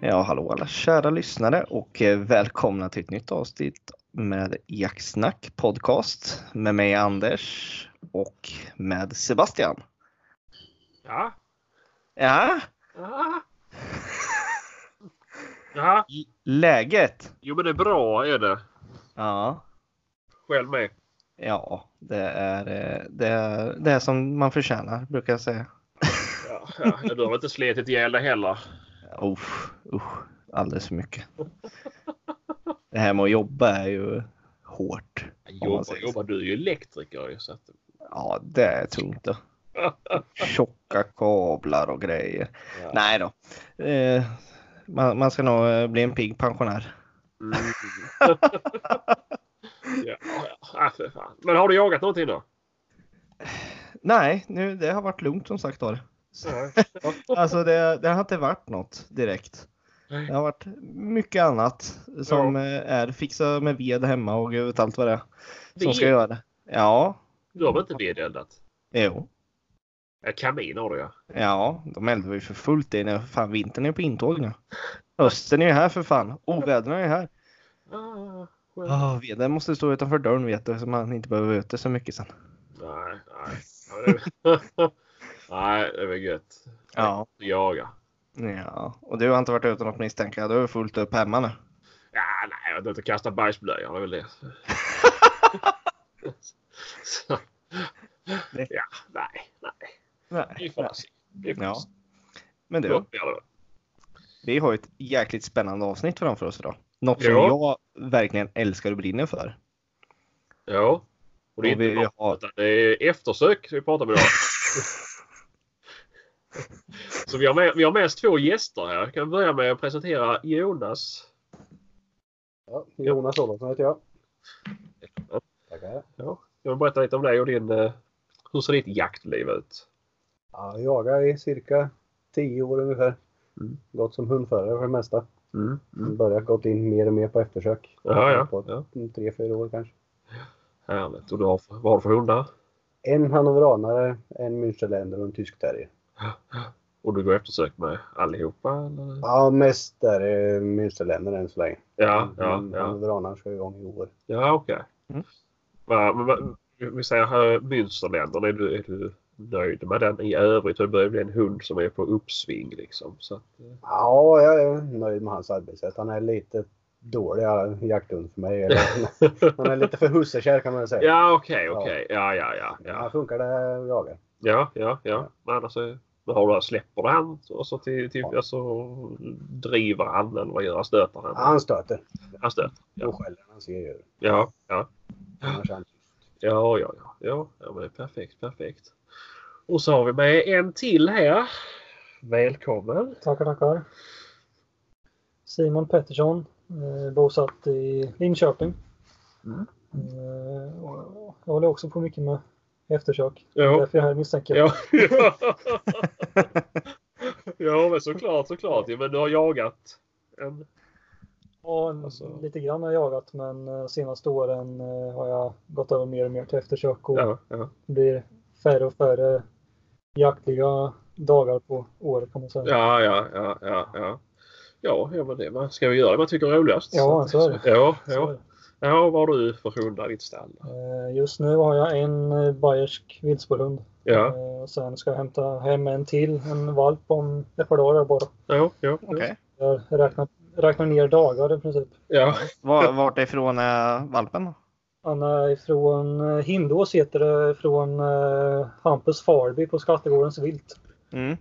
Ja, hallå alla kära lyssnare och eh, välkomna till ett nytt avsnitt med Jacksnack podcast med mig Anders och med Sebastian. Ja. Ja, Ja. ja. läget? Jo men det är bra är det. Ja, Själv med. ja, det är eh, det, är, det är som man förtjänar brukar jag säga. Ja, ja. Du har inte slitit ihjäl dig heller. Usch, usch, alldeles för mycket. Det här med att jobba är ju hårt. om man Jobbar, säger så. jobbar. Du är ju elektriker ju. Så att... Ja, det är tungt då. Tjocka kablar och grejer. Ja. Nej då. Eh, man, man ska nog eh, bli en pigg pensionär. Mm. ja. ja, för fan. Men har du jagat någonting då? Nej, nu, det har varit lugnt som sagt var. Ja. Oh. Alltså det, det har inte varit något direkt. Det har varit mycket annat som eh, är fixa med ved hemma och gud vet allt vad det är. Som ska Ved? göra det. Ja, Du har väl inte vedeldat? jo. Ja, kamin har du ja. Ja, de eldar ju för fullt i nu. Fan, vintern är på intåg nu. Hösten är ju här för fan. Ovädren är ju här. Ah, skönt. Oh, veden måste stå utanför dörren vet du, så man inte behöver vara ute så mycket sen. Nej, nej. Ja, det är... nej, det är väl gött. Ja. Jaga. Ja, och du har inte varit ute något misstänka. Du har fullt upp hemma nu. Ja, nej, jag vet inte. Kasta bajsblöjor, det är väl det. Så. Det- Ja, nej, nej. Det är Nej. fan synd. Det är fan Ja. synd. Men du, Ja, det är det. vi har ju ett jäkligt spännande avsnitt framför oss idag. Något som Ja. jag verkligen älskar och brinner för. Ja. Och det är Och vi- inte vi något, har- utan det är eftersök vi pratar om idag. Så vi har, med, vi har med oss två gäster här. Jag kan börja med att presentera Jonas. Ja, Jonas Olofsson heter jag. Ja. Tackar. Ja. Jag vill berätta lite om dig och din... eh, Hur ser ditt jaktliv ut? Ja, jag jagar i cirka 10 år ungefär. Mm. Gått som hundförare för det mesta. Mm. Börjat gått in mer och mer på eftersök. Ja, ja. På ja. tre, fyra år kanske. Härligt. Och du har, vad har du för hundar? En hannoveranare, en münsterländer och en tysk terrier. Och du går eftersök med allihopa? Eller? Ja, mest är det münsterländer än så länge. Ja, ja, Men ja. Hannoveranaren ska igång i år. Ja, okej. Mm. Va- men va- Vi säger här, Münsterländerna, är du, är du nöjd med den i övrigt? Det börjar bli en hund som är på uppsving liksom. Så att, eh, Ja, jag är nöjd med hans arbetssätt. Han är lite dålig ja, jakthund för mig. Eller- Han är lite för hussekär kan man säga. eh. ja, okej, Ja. okej. Ja, ja, ja. Han Ja, funkar det att jaga. ja, ja. ja. Men annars är- men har du, släpper du han och så till, till, Ja. alltså, driver han eller vad gör han? Stöter han? Han stöter. Han stöter. Ja. Då skäller han ser djur. Ja, ja. Annars är han tyst. Ja, ja, ja. Ja, ja men det är perfekt, perfekt. Och så har vi med en till här. Välkommen! Tackar, tackar. Simon Pettersson, eh, bosatt i Linköping. Mm. Eh, och jag håller också på mycket med eftersök. Ja. Därför är jag här misstänker jag. Ja, ja. ja men såklart, såklart. Ja, men du har jagat en... Ja, en- Alltså- Lite grann har jag jagat men eh, senaste åren eh, har jag gått över mer och mer till eftersök och Ja, ja. blir färre och färre jaktliga dagar på året kan man säga. Ja, ja, ja, ja, ja. Ja, ja, men det man ska vi göra det man tycker är roligast. Ja, så är det. Ja, Så är ja. det. ja vad har du för hundar i ditt stall? Eh, Just nu har jag en eh, bayersk vildspårhund. Ja, Eh, och Sen ska jag hämta hem en till, en valp om ett par dagar bara. ja, ja. Okej. Jag räknar, räknar ner dagar i princip. Ja, Var, vart ifrån är valpen? då? Han är från eh, Hindås heter det, från eh, Hampus Farby på Skattegårdens vilt. Mm.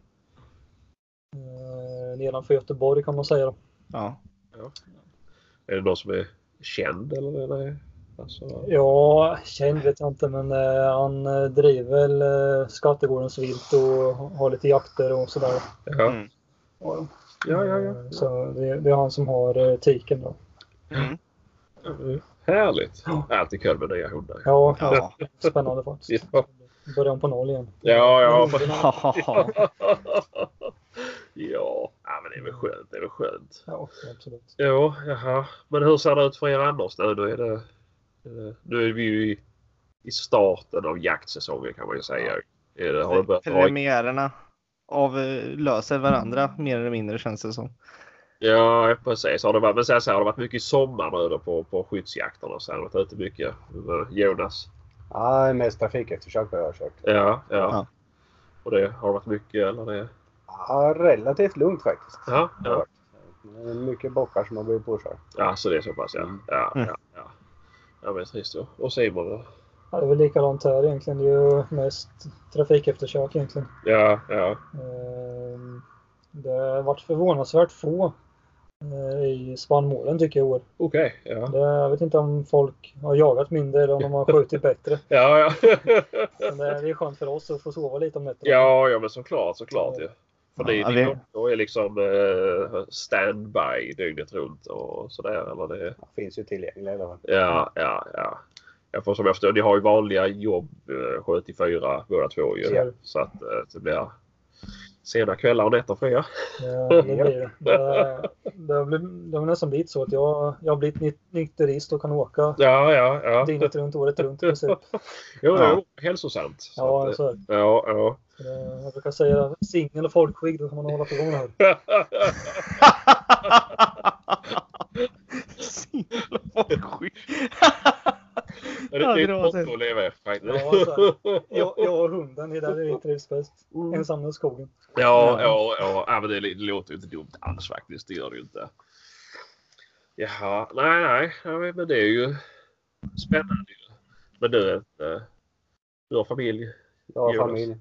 Eh, nedanför Göteborg kan man säga. då. Ja. är det någon som är känd eller? eller? Alltså, Ja, känd vet jag inte men eh, han eh, driver väl eh, Skattegårdens vilt och har lite jakter och sådär. ja, Mm. Ja, ja, ja. ja. Eh, Så det, det är han som har eh, tiken då. Mm. Mm, Härligt! Ja. Alltid kul med nya hundar. Ja, Ja. spännande faktiskt. Ja. Börjar om på noll igen. Ja, ja. Mm. ja. ja, ja, men det är väl skönt. Det är väl skönt. Ja, absolut. Ja, jaha. Men hur ser det ut för er annars nu? Nu är, det, eh, nu är vi ju i, i starten av jaktsäsongen kan man ju säga. Är det, har det börjat dra, eh, Premiärerna avlöser varandra mer eller mindre känns det som. Ja, precis. Har det varit, men sen så har det varit mycket i sommar nu då på, på skyddsjakterna. Så har det varit ute mycket. Jonas. Ja, det är mest trafikeftersök har jag kört. Ja, ja. Ja. Och det har varit mycket eller det? Ja, relativt lugnt faktiskt. Ja, ja. Det är Mycket bockar som har blivit påkörda. ja så det är så pass ja. Ja, Mm. ja, ja. ja men trist då. Och Simon då? Ja, det är väl likadant här egentligen. Det är ju mest trafikeftersök egentligen. Ja, ja. Ehm, Det har varit förvånansvärt få eh, i spannmålen tycker jag i år. Okej, ja. Det, jag vet inte om folk har jagat mindre eller om de har skjutit bättre. Ja, ja. Men det, det är skönt för oss att få sova lite om nätterna. ja, ja men såklart, såklart ju. För Ja, ni, ja, ni vi- då är liksom eh, standby dygnet runt och sådär eller det? Det finns ju tillgängliga i alla fall. Ja, ja, ja. Ja, för som jag förstår, ni har ju vanliga jobb eh, 7 till 4 båda två ju. Ja. Så att eh, det blir sena kvällar och nätter för er. Ja, Ehm, det blir det. Det, det, har blivit- det har nästan blivit så att jag, jag har blivit ny- nykterist och kan åka Ja, ja, ja. dygnet runt, året runt i princip. Jo, Ja. alltså. jo, hälsosamt. Så Ja, att, eh, så är det. ja, ja. Eh, Jag brukar säga singel och folkskygg, då kan man hålla på igång här. Singel och folkskygg. Är Ja, det det ett nytt var motto det. att leva efter? Ja, så Jag, jag och hunden, det är där vi trivs bäst. Mm. Ensamma i skogen. Ja, ja, ja. ja men det, det låter ju inte dumt alls faktiskt. Det gör det ju inte. Jaha, nej, nej. Ja, men- men det är ju spännande. ju. Men du, eh, du har familj? Jag har Jonas. familj.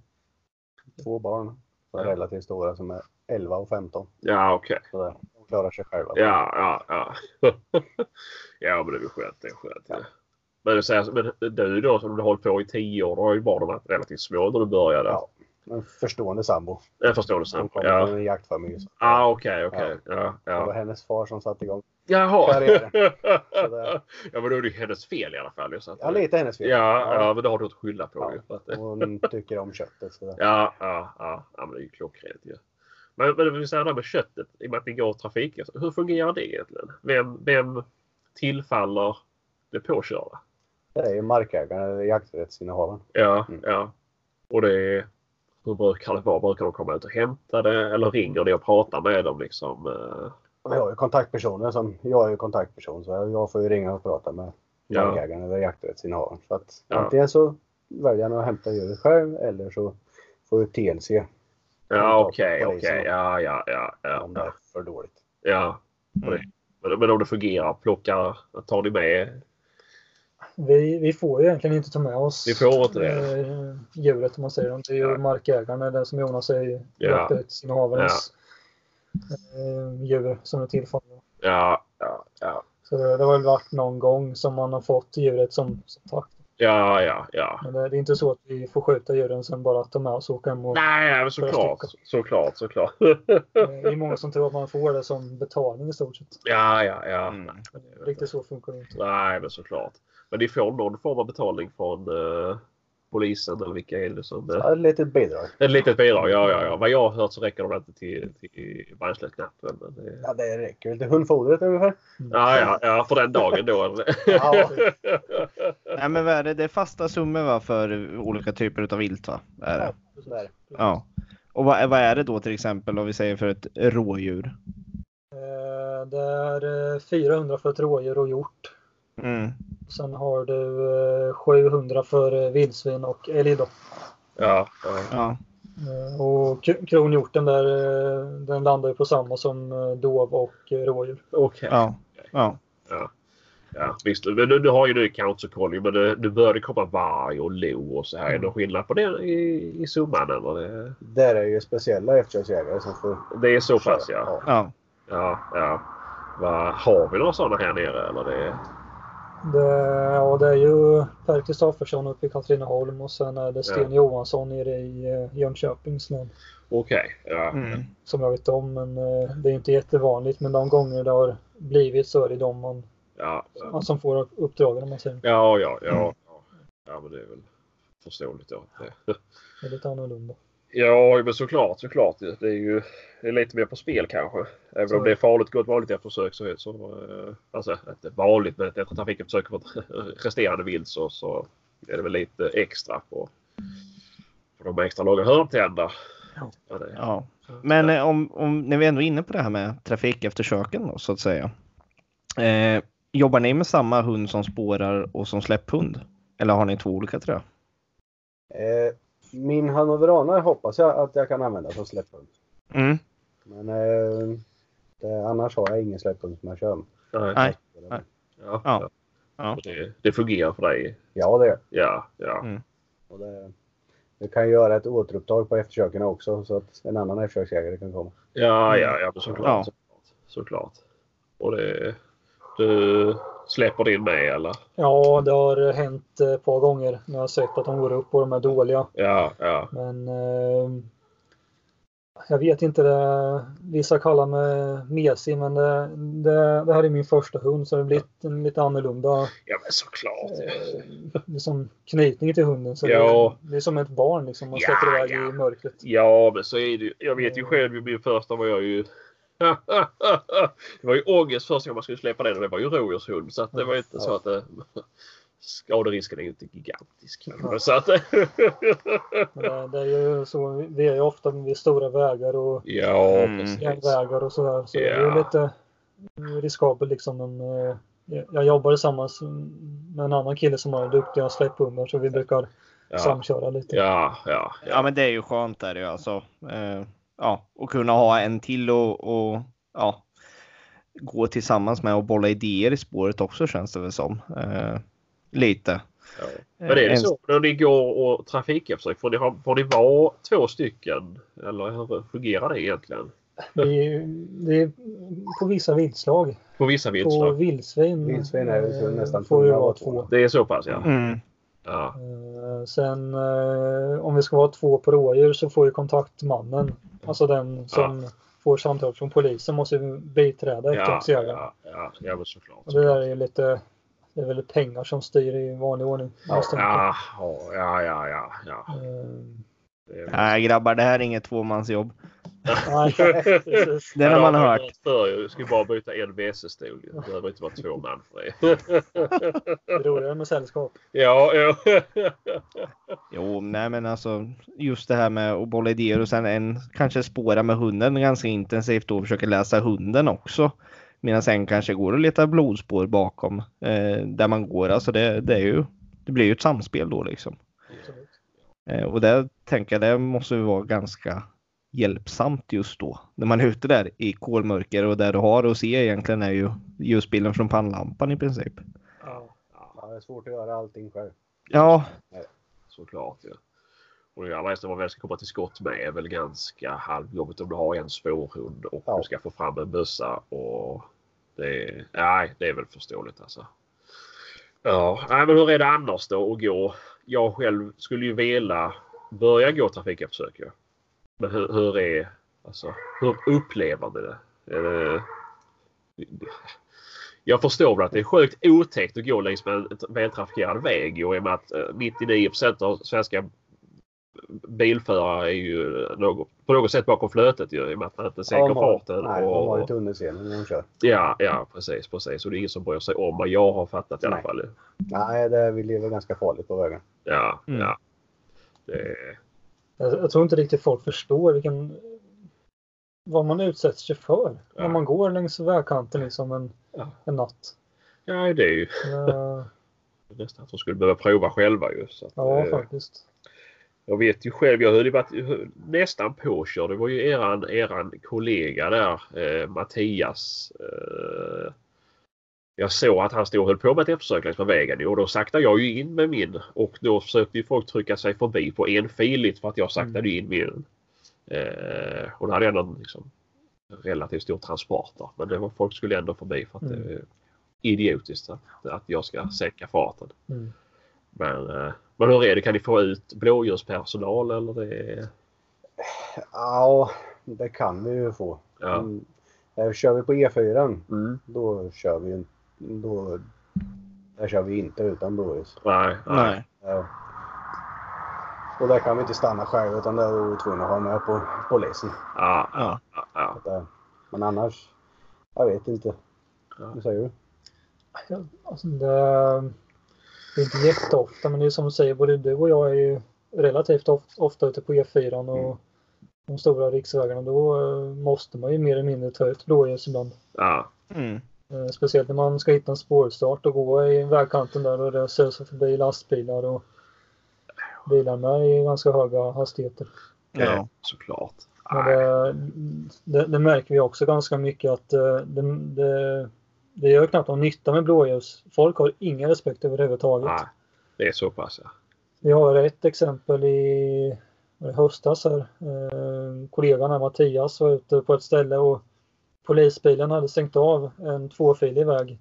Två barn. som är Ja. Relativt stora som är 11 och 15. Ja, okej. Så där. de klarar sig själva. Ja, ja, ja. ja, men det är väl skönt. Det är skönt. Ja. Men, så här, men du då som du har hållit på i tio år, då har ju barnen varit relativt små när du började. Ja. En förstående sambo. Jag förstår det Som sen. kommer Ja, från en jaktfamilj. Så ah, okej, okej. Ja, Det var ja. hennes far som satte igång. Jaha. Karriären. Sådär. Ja, men då är det ju hennes fel i alla fall. ju, Så att, Ja, lite hennes fel. Ja, ja, men det har du att skylla på Ja. ju. För att, Hon tycker om köttet. Så där. ja, ja, ja, ja, men det är ju klockrent ju. Men, men det vill säga det här med köttet, i och med att ni går trafik. alltså, Hur fungerar det egentligen? Vem, vem tillfaller det påkörda? Det är ju markägaren eller jakträttsinnehavaren. Ja, Mm. ja. Och det är... Hur brukar det vara? Brukar de komma ut och hämta det? Eller ringer ni och pratar med dem liksom? eh, Vi har ju kontaktpersoner som, jag är ju kontaktperson så jag- jag får ju ringa och prata med Ja. markägaren eller jakträttsinnehavaren. Så att Ja. antingen så väljer han att hämta djuret själv eller så får ju TLC Ja, okej, Polisen. okej. Ja, ja, ja. ja, om det ja. är för dåligt. ja. Mm. Men, men om det fungerar, plockar, tar ni med? Vi, vi får ju egentligen inte ta med oss Ni får inte det. eh, djuret om man säger. Det är ju Nej. markägaren, eller som Jonas säger, Ja. jakträttsinnehavarens eh, djur som är tillfångna. Ja, ja, ja. Så det, det har väl varit någon gång som man har fått djuret som, som tack. Ja, ja, ja. Men det, det är inte så att vi får skjuta djuren sen bara ta med oss och åka hem. Och, Nej, nej men såklart. Först Såklart, såklart. eh, det är många som tror att man får det som betalning i stort sett. ja, ja, ja. Mm. Men Riktigt så funkar det inte. Nej, men såklart. Men ni får någon form av betalning från eh, polisen eller vilka är det som... eh, Ja, ett litet bidrag. Ett litet bidrag, ja, ja, ja. Vad jag har hört så räcker de inte till, till bränsleknappen. Men det... Ja, det räcker väl till hundfodret ungefär. Ja, ja, ja, för den dagen då. eller? Ja. Nej men vad är det? Det är fasta summor va, för olika typer utav vilt va? Är det? Så där. Ja. Och vad, vad är det då till exempel om vi säger för ett rådjur? Eh, Det är eh, 400 för ett rådjur och hjort. Mm. Sen har du eh, 700 för eh, vildsvin och älg då. ja, ja. Ja. Eh, Och k- kronhjorten där, eh, den landar ju på samma som eh, dov och eh, rådjur. Okej. Ja. ja. Ja, visst. Men nu, nu har ju du cancerkolli, men nu, nu börjar det komma varg och lo och så här. Är det någon skillnad på det i, i summan? Eller? Det, Där är ju speciella eftersöksjägare som får det är så pass, ja. köra. ja. Ja, ja. Va, har vi några sådana här nere eller? Det... Det, ja, det är ju Per Kristoffersson uppe i Katrineholm och sen är det Sten Johansson nere i eh, Jönköpings län. Okej, ja. Mm. Som jag vet om, men eh, det är inte jättevanligt. Men de gånger det har blivit så är det de man, Ja, ja, Mm. man som får uppdragen om man säger. ja, ja, ja. Ja, men det är väl förståeligt då. Det- Det är lite annorlunda. Ja, men såklart, såklart. Det det är ju det är lite mer på spel kanske. Även Så- om det är farligt gott vanligt efter försök så, så eh, alltså inte vanligt, men efter trafiken försöker få ett resterande vilt så, så är det väl lite extra på, på de extra långa hörntänder. Ja, det- Ja. Men eh, om, om, när vi ändå är inne på det här med trafikeftersöken då, så att säga. Eh, jobbar ni med samma hund som spårar och som släpphund? Eller har ni två olika tror jag? Eh, min hannoveranare hoppas jag att jag kan använda som släpphund. Mm. Men eh, det, annars har jag ingen släpphund som jag kör med. Nej. Nej. Ja. Ja. Ja. Ja. Det, det fungerar för dig. Ja, det gör jag. Ja, ja. Mm. Och det. Du kan göra ett återupptag på eftersöken också så att en annan eftersöksjägare kan komma. Ja, ja, ja men såklart. Mm. Ja. Såklart. såklart. Och det, du släpper din med eller? Ja, det har hänt eh, ett par gånger när jag har sett att de går upp och de är dåliga. Ja, ja. Men eh, jag vet inte, det, vissa kallar mig mesig men det, det, det här är min första hund så det blir lite, lite annorlunda Ja, men såklart. eh, liksom, knytning till hunden. Så Ja. det, det är som ett barn liksom, man Ja, släpper iväg ja. i mörkret. Ja, men så är det ju. Jag vet ju själv, min första var jag ju... det var ju ångest första gången man skulle släppa den och det var ju rådjurshund. Så att det var ju inte så att det... Skaderisken är ju inte gigantisk. Men så att... Men det, det är ju så, vi är ju ofta vid stora vägar och ja, Mm. precis. järnvägar och sådär. Så det är Ja. ju lite riskabelt liksom. Men, eh, jag jobbar tillsammans med en annan kille som har duktiga släpphundar så vi brukar Ja, samköra lite. ja, ja. Ja men det är ju skönt där ju alltså. Eh, ja, och kunna ha en till och, och ja, gå tillsammans med och bolla idéer i spåret också känns det väl som. Eh, lite. ja. Men är det Eh, En- så när ni går och trafikeftersök? Får ni, ha, får ni vara två stycken? Eller hur fungerar det egentligen? Vi, det är på vissa viltslag. På vissa På viltslag? vildsvin, Vildsvin är ju så eh, nästan får ju tvungna att vara vara två. två. Det är så pass ja. Mm. Ja, Eh, Sen eh, om vi ska vara två på rådjur så får ju Mm. kontaktmannen, alltså den som får samtal från polisen, måste ju biträda ja, efteråt. ja, ja, ja men såklart. Och det där är ju lite, det är väl pengar som styr i vanlig ordning. misstänker jag. Ja, ja, ja, ja, ja. Ehm, Det är- Nej grabbar, det här är inget tvåmansjobb. nej, precis. Det har Ja, man jag hört. hört Förr, ju. jag skulle bara byta en WC-stol. Det behöver inte vara två man för det. Det är roligare med sällskap. Ja, ja. Jo, nej men alltså just det här med att bolla idéer och sen en kanske spåra med hunden ganska intensivt och försöka läsa hunden också. Medan en kanske går och letar blodspår bakom eh, där man går. Alltså det, det, är ju, det blir ju ett samspel då liksom. Absolut. Eh, och där tänker jag det måste ju vara ganska hjälpsamt just då. När man är ute där i kolmörker och där du har att se egentligen är ju ljusbilden från pannlampan i princip. Ja. Ja, det är svårt att göra allting själv. Ja, Såklart ju. Och det allra resten vad man väl ska komma till skott med är väl ganska halvjobbigt om du har en spårhund och Ja. du ska få fram en bössa. Och det, är- nej, det är väl förståeligt alltså. Ja, nej, men hur är det annars då att gå? Jag själv skulle ju vilja börja gå trafikeftersök ju. Men hur, hur är, alltså, hur upplever ni det? Är det? Jag förstår väl att det är sjukt otäckt att gå längs med en t- vältrafikerad väg i och med att eh, 99 av svenska bilförare är ju eh, något, på något sätt bakom flötet ju, i och med att man inte sänker de har- farten. Nej, de och- har ju tunnelseende när de kör. Ja, ja precis, precis. Och det är ingen som bryr sig om vad jag har fattat i alla Nej. fall. Nej, det, vi lever ganska farligt på vägen. Ja, Mm. ja. Det, Jag, jag tror inte riktigt folk förstår vilken, vad man utsätts sig för när Ja. man går längs vägkanten liksom en, Ja. en natt. ja, det är ju Eh, nästan att de skulle behöva prova själva ju. Så att, Ja, eh, faktiskt. jag vet ju själv, jag hade ju varit nästan påkörd. Det var ju eran, eran kollega där, eh, Mattias. Eh, jag såg att han stod och höll på med ett eftersök längs med vägen ju, och då saktade jag ju in med min. Och då försökte ju folk trycka sig förbi på enfiligt för att jag saktade in min. Eh, och då hade jag någon liksom, relativt stor transporter. Men det var, folk skulle ändå förbi för att det är idiotiskt att, att jag ska sänka farten. Mm. Men, eh, men hur är det? Kan ni få ut blåljuspersonal eller det är... Ja, det kan vi ju få. Ja. Mm. Eh, Kör vi på E4 Mm. då kör vi ju- då, där kör vi inte utan blåljus. Nej, nej. nej. Ja. Och där kan vi inte stanna själv utan där är vi tvungna att ha med på polisen. Ja, Ja. ja, ja. Där. Men annars, jag vet inte. Ja. Vad säger du? Ja, Alltså, det, det är inte jätteofta men det är som du säger, både du E och jag är ju relativt of, ofta ute på E4 och Mm. de stora riksvägarna då eh, måste man ju mer eller mindre ta ut blåljus ibland. Ja. Mm. Eh, Speciellt när man ska hitta en spårstart och gå i vägkanten där och det susar förbi lastbilar och bilar med i ganska höga hastigheter. Ja. Såklart. Men Nej. det, det, det märker vi också ganska mycket att eh, det, det, det gör knappt någon nytta med blåljus. Folk har ingen respekt överhuvudtaget. Nej. Det är så pass ja. Vi har ett exempel i var det höstas här. Eh, kollegan här, Mattias, var ute på ett ställe och polisbilen hade stängt av en tvåfilig väg.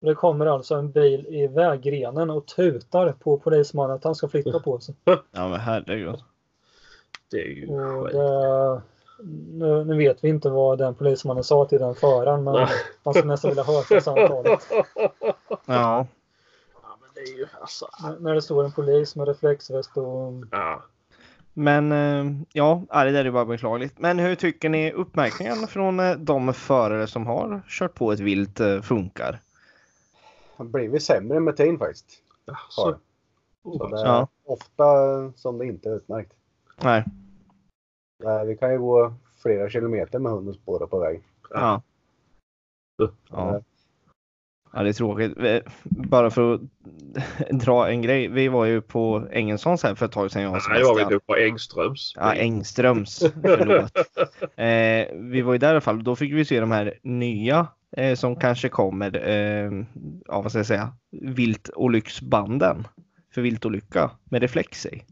Och det kommer alltså en bil i väggrenen och tutar på polismannen att han ska flytta på sig. ja, men herregud. Det är ju Och skit. det, nu, nu vet vi inte vad den polismannen sa till den föraren, men Nej. man skulle nästan vilja höra samtalet. Ja. Ja, men det är ju alltså. N- När det står en polis med reflexväst och Ja. Men eh, ja, ja, det där är bara beklagligt. Men hur tycker ni uppmärkningen från eh, de förare som har kört på ett vilt eh, funkar? Det blir vi sämre med tiden faktiskt. Så, Oh, Har. Så det är Ja. ofta som det inte är utmärkt. Nej. Nej, Vi kan ju gå flera kilometer med hunden spåra på väg. Ja. Ja. ja, det är tråkigt. Eh, Bara för att dra en grej. Vi var ju på Engelsons här för ett tag sedan. Jag och Nej, det var Sebastian. väl typ på Engströms. Ja, Engströms. Förlåt. Eh, vi var ju där i alla fall. Då fick vi se de här nya eh, som kanske kommer. Eh, ja, vad ska jag säga? Viltolycksbanden. För viltolycka med reflex i.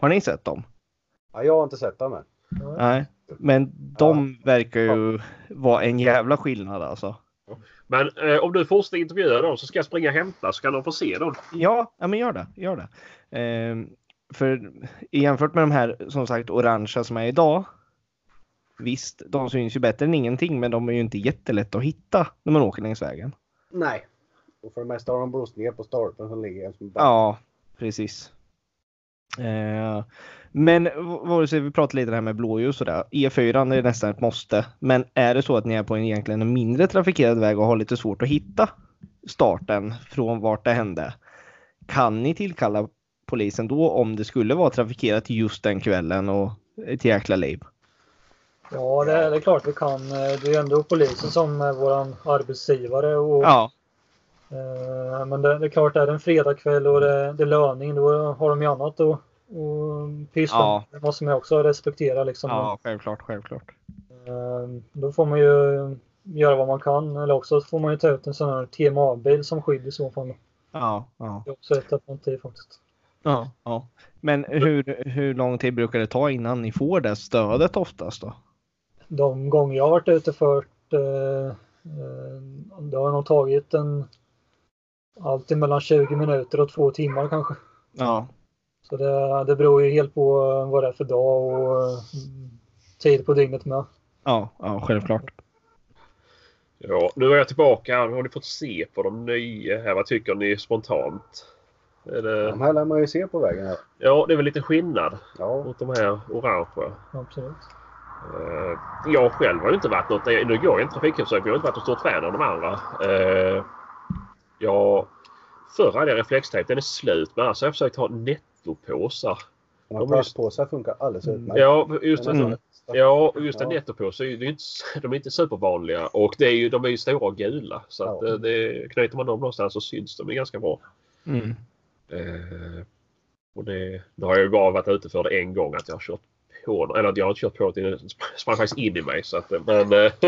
Har ni sett dem? Ja, jag har inte sett dem än. Nej. Men de verkar ju vara en jävla skillnad alltså. Men eh, om du fortsätter intervjua dem så ska jag springa och hämta så kan de få se dem. Ja, ja men gör det. Gör det. Ehm, för jämfört med de här som sagt orangea som är idag. Visst, de syns ju bättre än ingenting, men de är ju inte jättelätta att hitta när man åker längs vägen. Nej. Och för det mesta har de blåst ner på stolpen som ligger en som Ja, precis. Eh, men v- vare sig vi pratar lite det här med blåljus och det. E4 är nästan ett måste. Men är det så att ni är på en egentligen en mindre trafikerad väg och har lite svårt att hitta starten från vart det hände. Kan ni tillkalla polisen då om det skulle vara trafikerat just den kvällen och ett jäkla liv? ja, det, det är klart vi kan. Eh, Det är ju ändå polisen som är våran arbetsgivare och Ja, Eh, Men det, det är klart, är det en fredagkväll och det, det är löning, då har de ju annat att att pyssla Ja. med. Det måste man ju också respektera. Liksom. ja självklart, självklart. Eh, Då får man ju göra vad man kan eller också får man ju ta ut en sån här TMA-bil som skydd i så fall. Ja, ja. Det är också ett alternativ faktiskt. ja, ja. Men hur, hur lång tid brukar det ta innan ni får det stödet oftast då? De gånger jag har varit ute först, eh, eh, det har nog tagit en alltid mellan 20 minuter och två timmar kanske. Ja, Så det, det beror ju helt på vad det är för dag och mm, tid på dygnet med. Ja, ja självklart. Ja, nu är jag tillbaka här. Har ni fått se på de nya här? Vad tycker ni spontant? Är De det... här lär man ju se på vägen här. Ja, det är väl lite skillnad Ja. mot de här orangea. Absolut. Eh, jag själv har ju inte varit något... Nu går jag inte trafikhushållning. Jag har inte varit något stort fan av de andra. Eh, jag... Förr hade jag reflextejp. Den är slut. Men alltså har jag försökt ha nettopåsar. De De är här plastpåsar funkar alldeles utmärkt. Ja, just det. Den är Mm. lätt. Ja, och just en Ja. nettopåse. är ju- det är ju inte, de är inte supervanliga och det är ju, de är ju stora och gula. Så att Ja. eh, det, knyter man dem någonstans så syns de ju ganska bra. Mm. Eh, och det, nu har jag ju bara varit ute för det en gång att jag har kört på Eller att jag har inte kört på det. Det sprang faktiskt in i mig. Så att, eh, men eh,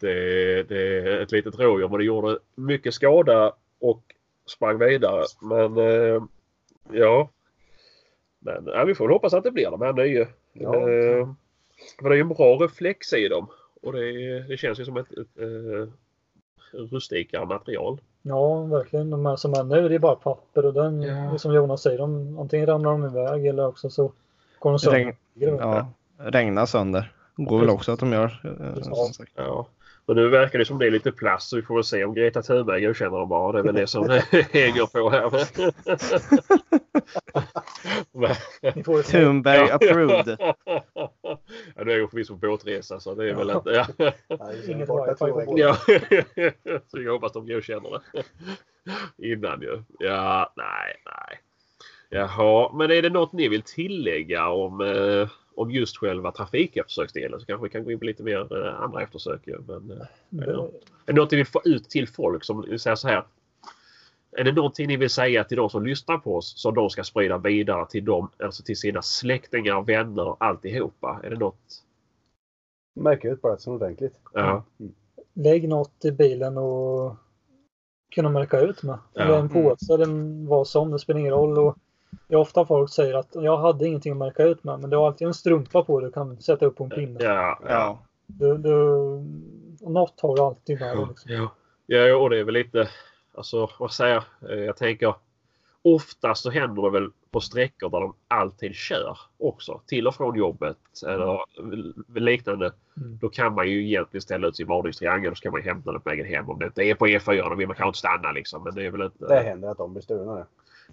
det, det är ett litet rådjur men det gjorde mycket skada och sprang vidare. Men eh, ja. Men ja, vi får väl hoppas att det blir de här nya. Ja. Eh, för det är ju en bra reflex i dem. Och det, det känns ju som ett, ett, eh, rustikare material. Ja, verkligen. De här som är nu, det är bara papper och den, Ja. som Jonas säger, de, antingen ramlar de iväg eller också så går de sönder. Regn, ja, regna sönder. Går väl också att de gör. eh, som sagt. Ja. Men nu verkar det som det är lite plast så vi får väl se om Greta Thunberg godkänner dem bara. Det är väl det som hänger på här. Men- Ni får ett Thunberg approved. ja, nu är jag förvisso på båtresa så det är väl Ja. inte... Ja. Nej, det är Inget borta wifi två på veckor. Ja. så jag hoppas de godkänner det. Innan ju. Ja, nej, nej. Jaha, men är det något ni vill tillägga om eh, om just själva trafikeftersöksdelen så kanske vi kan gå in på lite mer eh, andra eftersök. ju, Men, eh, Det, är det någonting vi får ut till folk som säger så här? Är det någonting ni vill säga till de som lyssnar på oss som de ska sprida vidare till dem, alltså till sina släktingar, vänner och alltihopa? Är det något? Märker ut platsen ordentligt. Ja. lägg något i bilen och kunna märka ut med. Om det är en Ja. Mm. påse eller en vad som, det spelar ingen roll. Och det är ofta folk säger att jag hade ingenting att märka ut med, men du har alltid en strumpa på dig du kan sätta upp på en pinne. Ja, ja. Ja. Du, du, något har du alltid med dig. Liksom. ja. ja, och det är väl lite, alltså vad säger jag? Eh, Jag tänker oftast så händer det väl på sträckor där de alltid kör också till och från jobbet eller liknande. Mm. Då kan man ju egentligen ställa ut sin varningstriangel och så kan man ju hämta den på vägen hem om det inte är på E4. Då vill man kanske inte stanna liksom. Men det är väl inte... Det händer att de blir stulna. nu.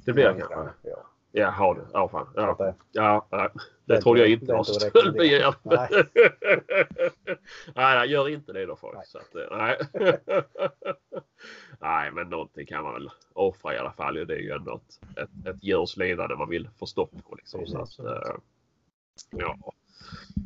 Det blir det kanske. Ja. Jaha du. Ja, fan. så Ja, att det- ja, nej. det, Det är trodde jag inte- inte det är var inte att stöld rekommendera. igen. Nej. nej, nej, gör inte det då folk. Nej, Nej. så att, eh, nej. nej men någonting kan man väl offra i alla fall. ju. Det är ju ändå ett, ett, ett djurs lidande man vill få stopp på. Liksom, så att, eh, ja.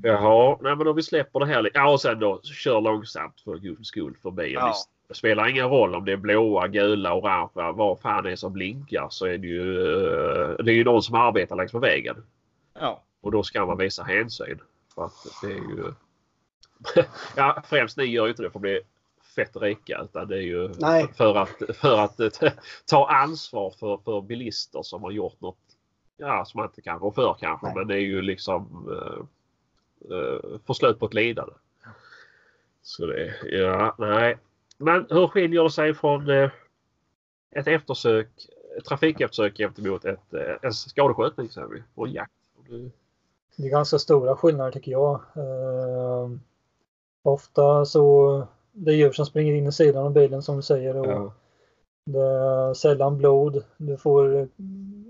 Jaha, nej, men om vi släpper det här. li- Ja, och sen då kör långsamt för guds skull förbi. Ja. Det spelar ingen roll om det är blåa, gula, orangea, vad fan det är som blinkar så är det ju, eh, det är ju någon som arbetar längs med vägen. Ja. Och då ska man visa hänsyn. För att det är ju... ja, främst ni gör ju inte det för att bli fett rika. Utan det är ju Nej. för att, för att eh, ta ansvar för, för bilister som har gjort något ja, som man inte kan rå för kanske. Nej. Men det är ju liksom eh, eh, få slut på ett lidande. Så det, ja, nej. Men hur skiljer det sig från eh, ett eftersök, ett trafikeftersök gentemot ett, eh, en skadeskjutning säger vi, och jakt? Och det- Det är ganska stora skillnader tycker jag. Eh, ofta så det är djur som springer in i sidan av bilen som du säger. Och Ja. Det är sällan blod. Du får eh,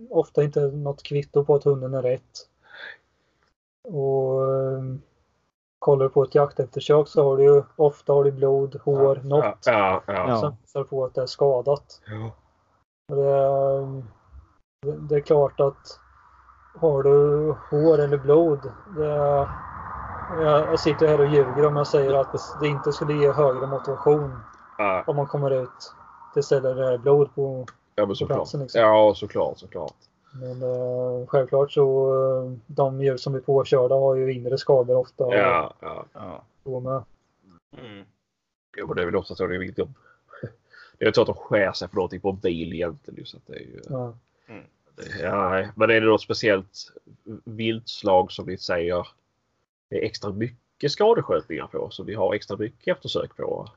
ofta inte något kvitto på att hunden är rätt. Och eh, kollar du på ett jakteftersök så har du ju ofta har du blod, hår, något Ja, ja, som visar på att det är skadat. ja. Och Det är, det är klart att har du hår eller blod. Det är, jag, jag sitter här och ljuger om jag säger att det inte skulle ge högre motivation Ja, om man kommer ut till ställen där det är blod på ja, men såklart. platsen, liksom. Ja, såklart, såklart. Men eh, självklart så eh, de djur som blir påkörda har ju inre skador ofta. och Ja, ja. Ja. så med. Mm. Jo, men det är väl ofta så det är viktigt. om- Det är ju så att de skär sig för någonting på en bil egentligen. ju, Så att det är ju... Ja. det- ja, nej. men är det något speciellt viltslag som ni säger det är extra mycket skadeskjutningar på? Som vi har extra mycket eftersök på?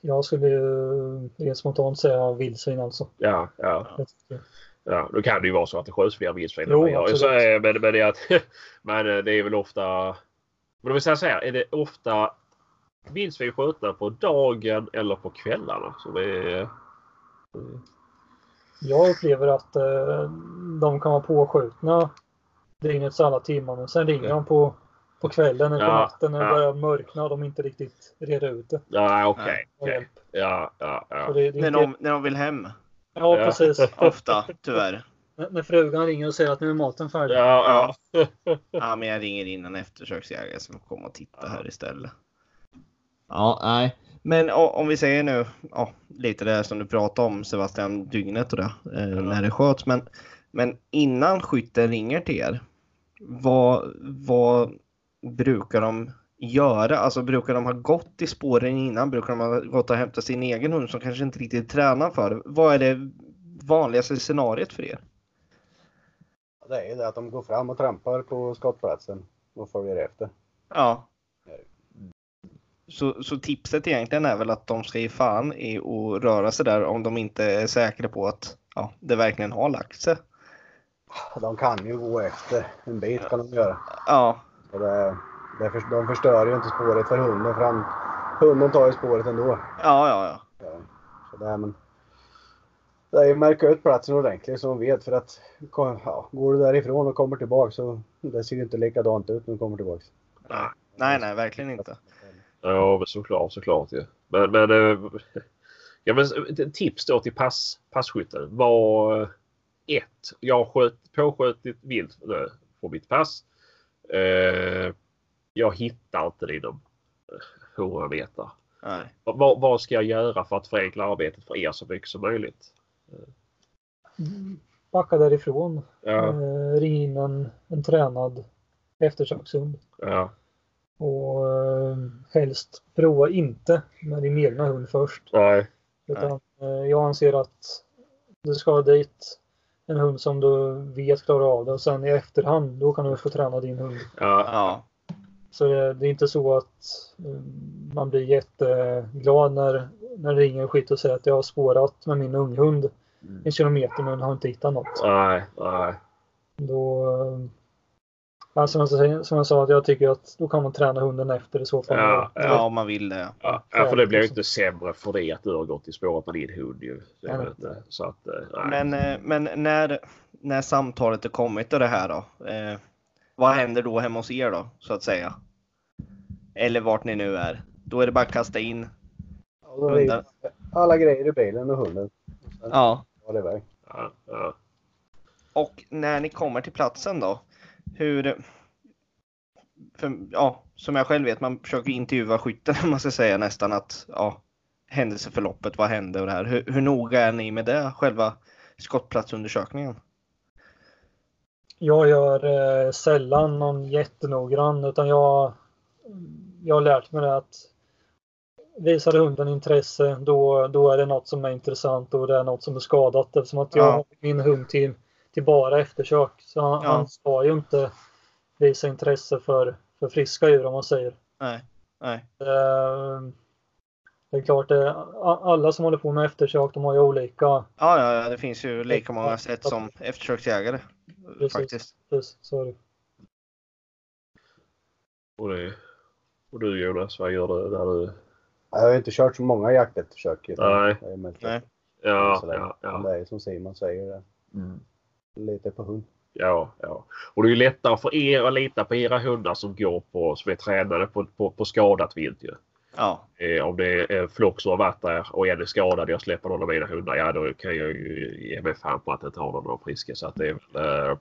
Jag skulle ju rent spontant säga vildsvin alltså. Ja, ja. Jag tycker- Ja, då kan det ju vara så att det skjuts fler vildsvin. Jo, Ja, absolut. så, eh, men, men, det är att, men eh, det är väl ofta... Men om vi säger så här, är det ofta vildsvin skjutna på dagen eller på kvällarna? Så det är, Jag upplever att eh, de kan vara påskjutna dygnets alla timmar men sen ringer Ja. de på, på kvällen eller på Ja, natten när det ja. börjar mörkna och de inte riktigt reder ut det. ja, okej. Och okej. hjälp. Ja, ja, Så ja. det, det är När, inte, de, när de vill hem. ja, Ja. precis. Ofta, tyvärr. När, när frugan ringer och säger att nu är maten färdig. Ja, ja. Ja, men jag ringer in en eftersöksjägare som kommer och titta här istället. Ja, nej. Men o- om vi säger nu, ja, lite det här som du pratade om Sebastian, dygnet och det, eh, när det sköts. Men, men innan skytten ringer till er, vad, vad brukar de göra? Alltså brukar de ha gått i spåren innan? Brukar de ha gått och hämtat sin egen hund som kanske inte riktigt tränar för? det? Vad är det vanligaste scenariet för er? Det är ju det att de går fram och trampar på skottplatsen och följer efter. Ja. Så, så tipset egentligen är väl att de ska ge fan i att röra sig där om de inte är säkra på att ja, det verkligen har lagt sig. De kan ju gå efter. En bit kan de göra. Ja, Och det, det för, de förstör ju inte spåret för hunden. För han, hunden tar ju spåret ändå. ja, ja. ja. Så det, är- men, det är ju att märka ut platsen ordentligt så de vet. För att kom- ja, går du därifrån och kommer tillbaka så det ser ju inte likadant ut när du kommer tillbaka. Nej, nej, verkligen inte. Ja, men såklart, såklart ju. Men, men, eh, ja, men eh, tips då till pass, passkytten var eh, ett, Jag sköt, påsköt ett vilt eh, på mitt pass. Eh, jag hittar inte det inom HR-vetare. Nej. Vad, vad ska jag göra för att förenkla arbetet för er så mycket som möjligt? Backa därifrån. Ja, Eh, ring in en, en tränad eftersökshund. ja, Och eh, helst prova inte med din egna hund först. nej, Utan, eh, jag anser att du ska ha dit en hund som du vet klarar av det och sen i efterhand då kan du få träna din hund. ja, Ja. Så det, det är inte så att eh, man blir jätteglad när, när det ringer skit och säger att jag har spårat med min unghund Mm. en kilometer men har inte hittat något. nej, nej, Då, eh, ja, som, jag, sa- som jag sa, att jag tycker att då kan man träna hunden efter i så fall. Ja, ja, om man vill det. ja, ja, för det blir ju inte sämre för det att du har gått i spåret med din hund ju. Det är väl inte- Så att, eh, nej. Men, eh, men när, när samtalet är kommit och det här då? Eh, vad händer då hemma hos er då, så att säga? Eller vart ni nu är. Då är det bara att kasta in. Och då är Hundar. det alla grejer i bilen och hunden. Ja. Var det iväg. Ja, ja. Och när ni kommer till platsen då? Hur... För, ja, som jag själv vet, man försöker intervjua skytten, man ska säga nästan att ja, händelseförloppet, vad hände och det här. Hur, hur noga är ni med det, själva skottplatsundersökningen? Jag gör eh, sällan någon jättenoggrann utan jag, jag har lärt mig det att visar hunden intresse då, då är det något som är intressant och det är något som är skadat eftersom att jag Ja. har min hund till, till bara eftersök. Så han, Ja. han ska ju inte visa intresse för, för friska djur om man säger. Nej, nej. Eh, det är klart, det, a- alla som håller på med eftersök de har ju olika. Ja, ja, ja, det finns ju lika många sätt som eftersöksjägare. Precis. Faktiskt. Så är det. Och, det, och du Jonas, vad gör du när du... Jag har ju inte kört så många jakteförsök. utan Nej. det är mest- Nej. Ja, Så länge. ja, ja. Det är ju som Simon säger. det Mm. är Lite på hund. Ja, ja. Och det är ju lättare för er att lita på era hundar som går på, som är tränade på, på, på skadat vilt ju. Ja, Eh, om det är en flock som har varit där och en är skadad jag släpper någon av mina hundar, ja då kan jag ju ge mig fan på att inte ha någon av de friska. Så att det är väl, eh,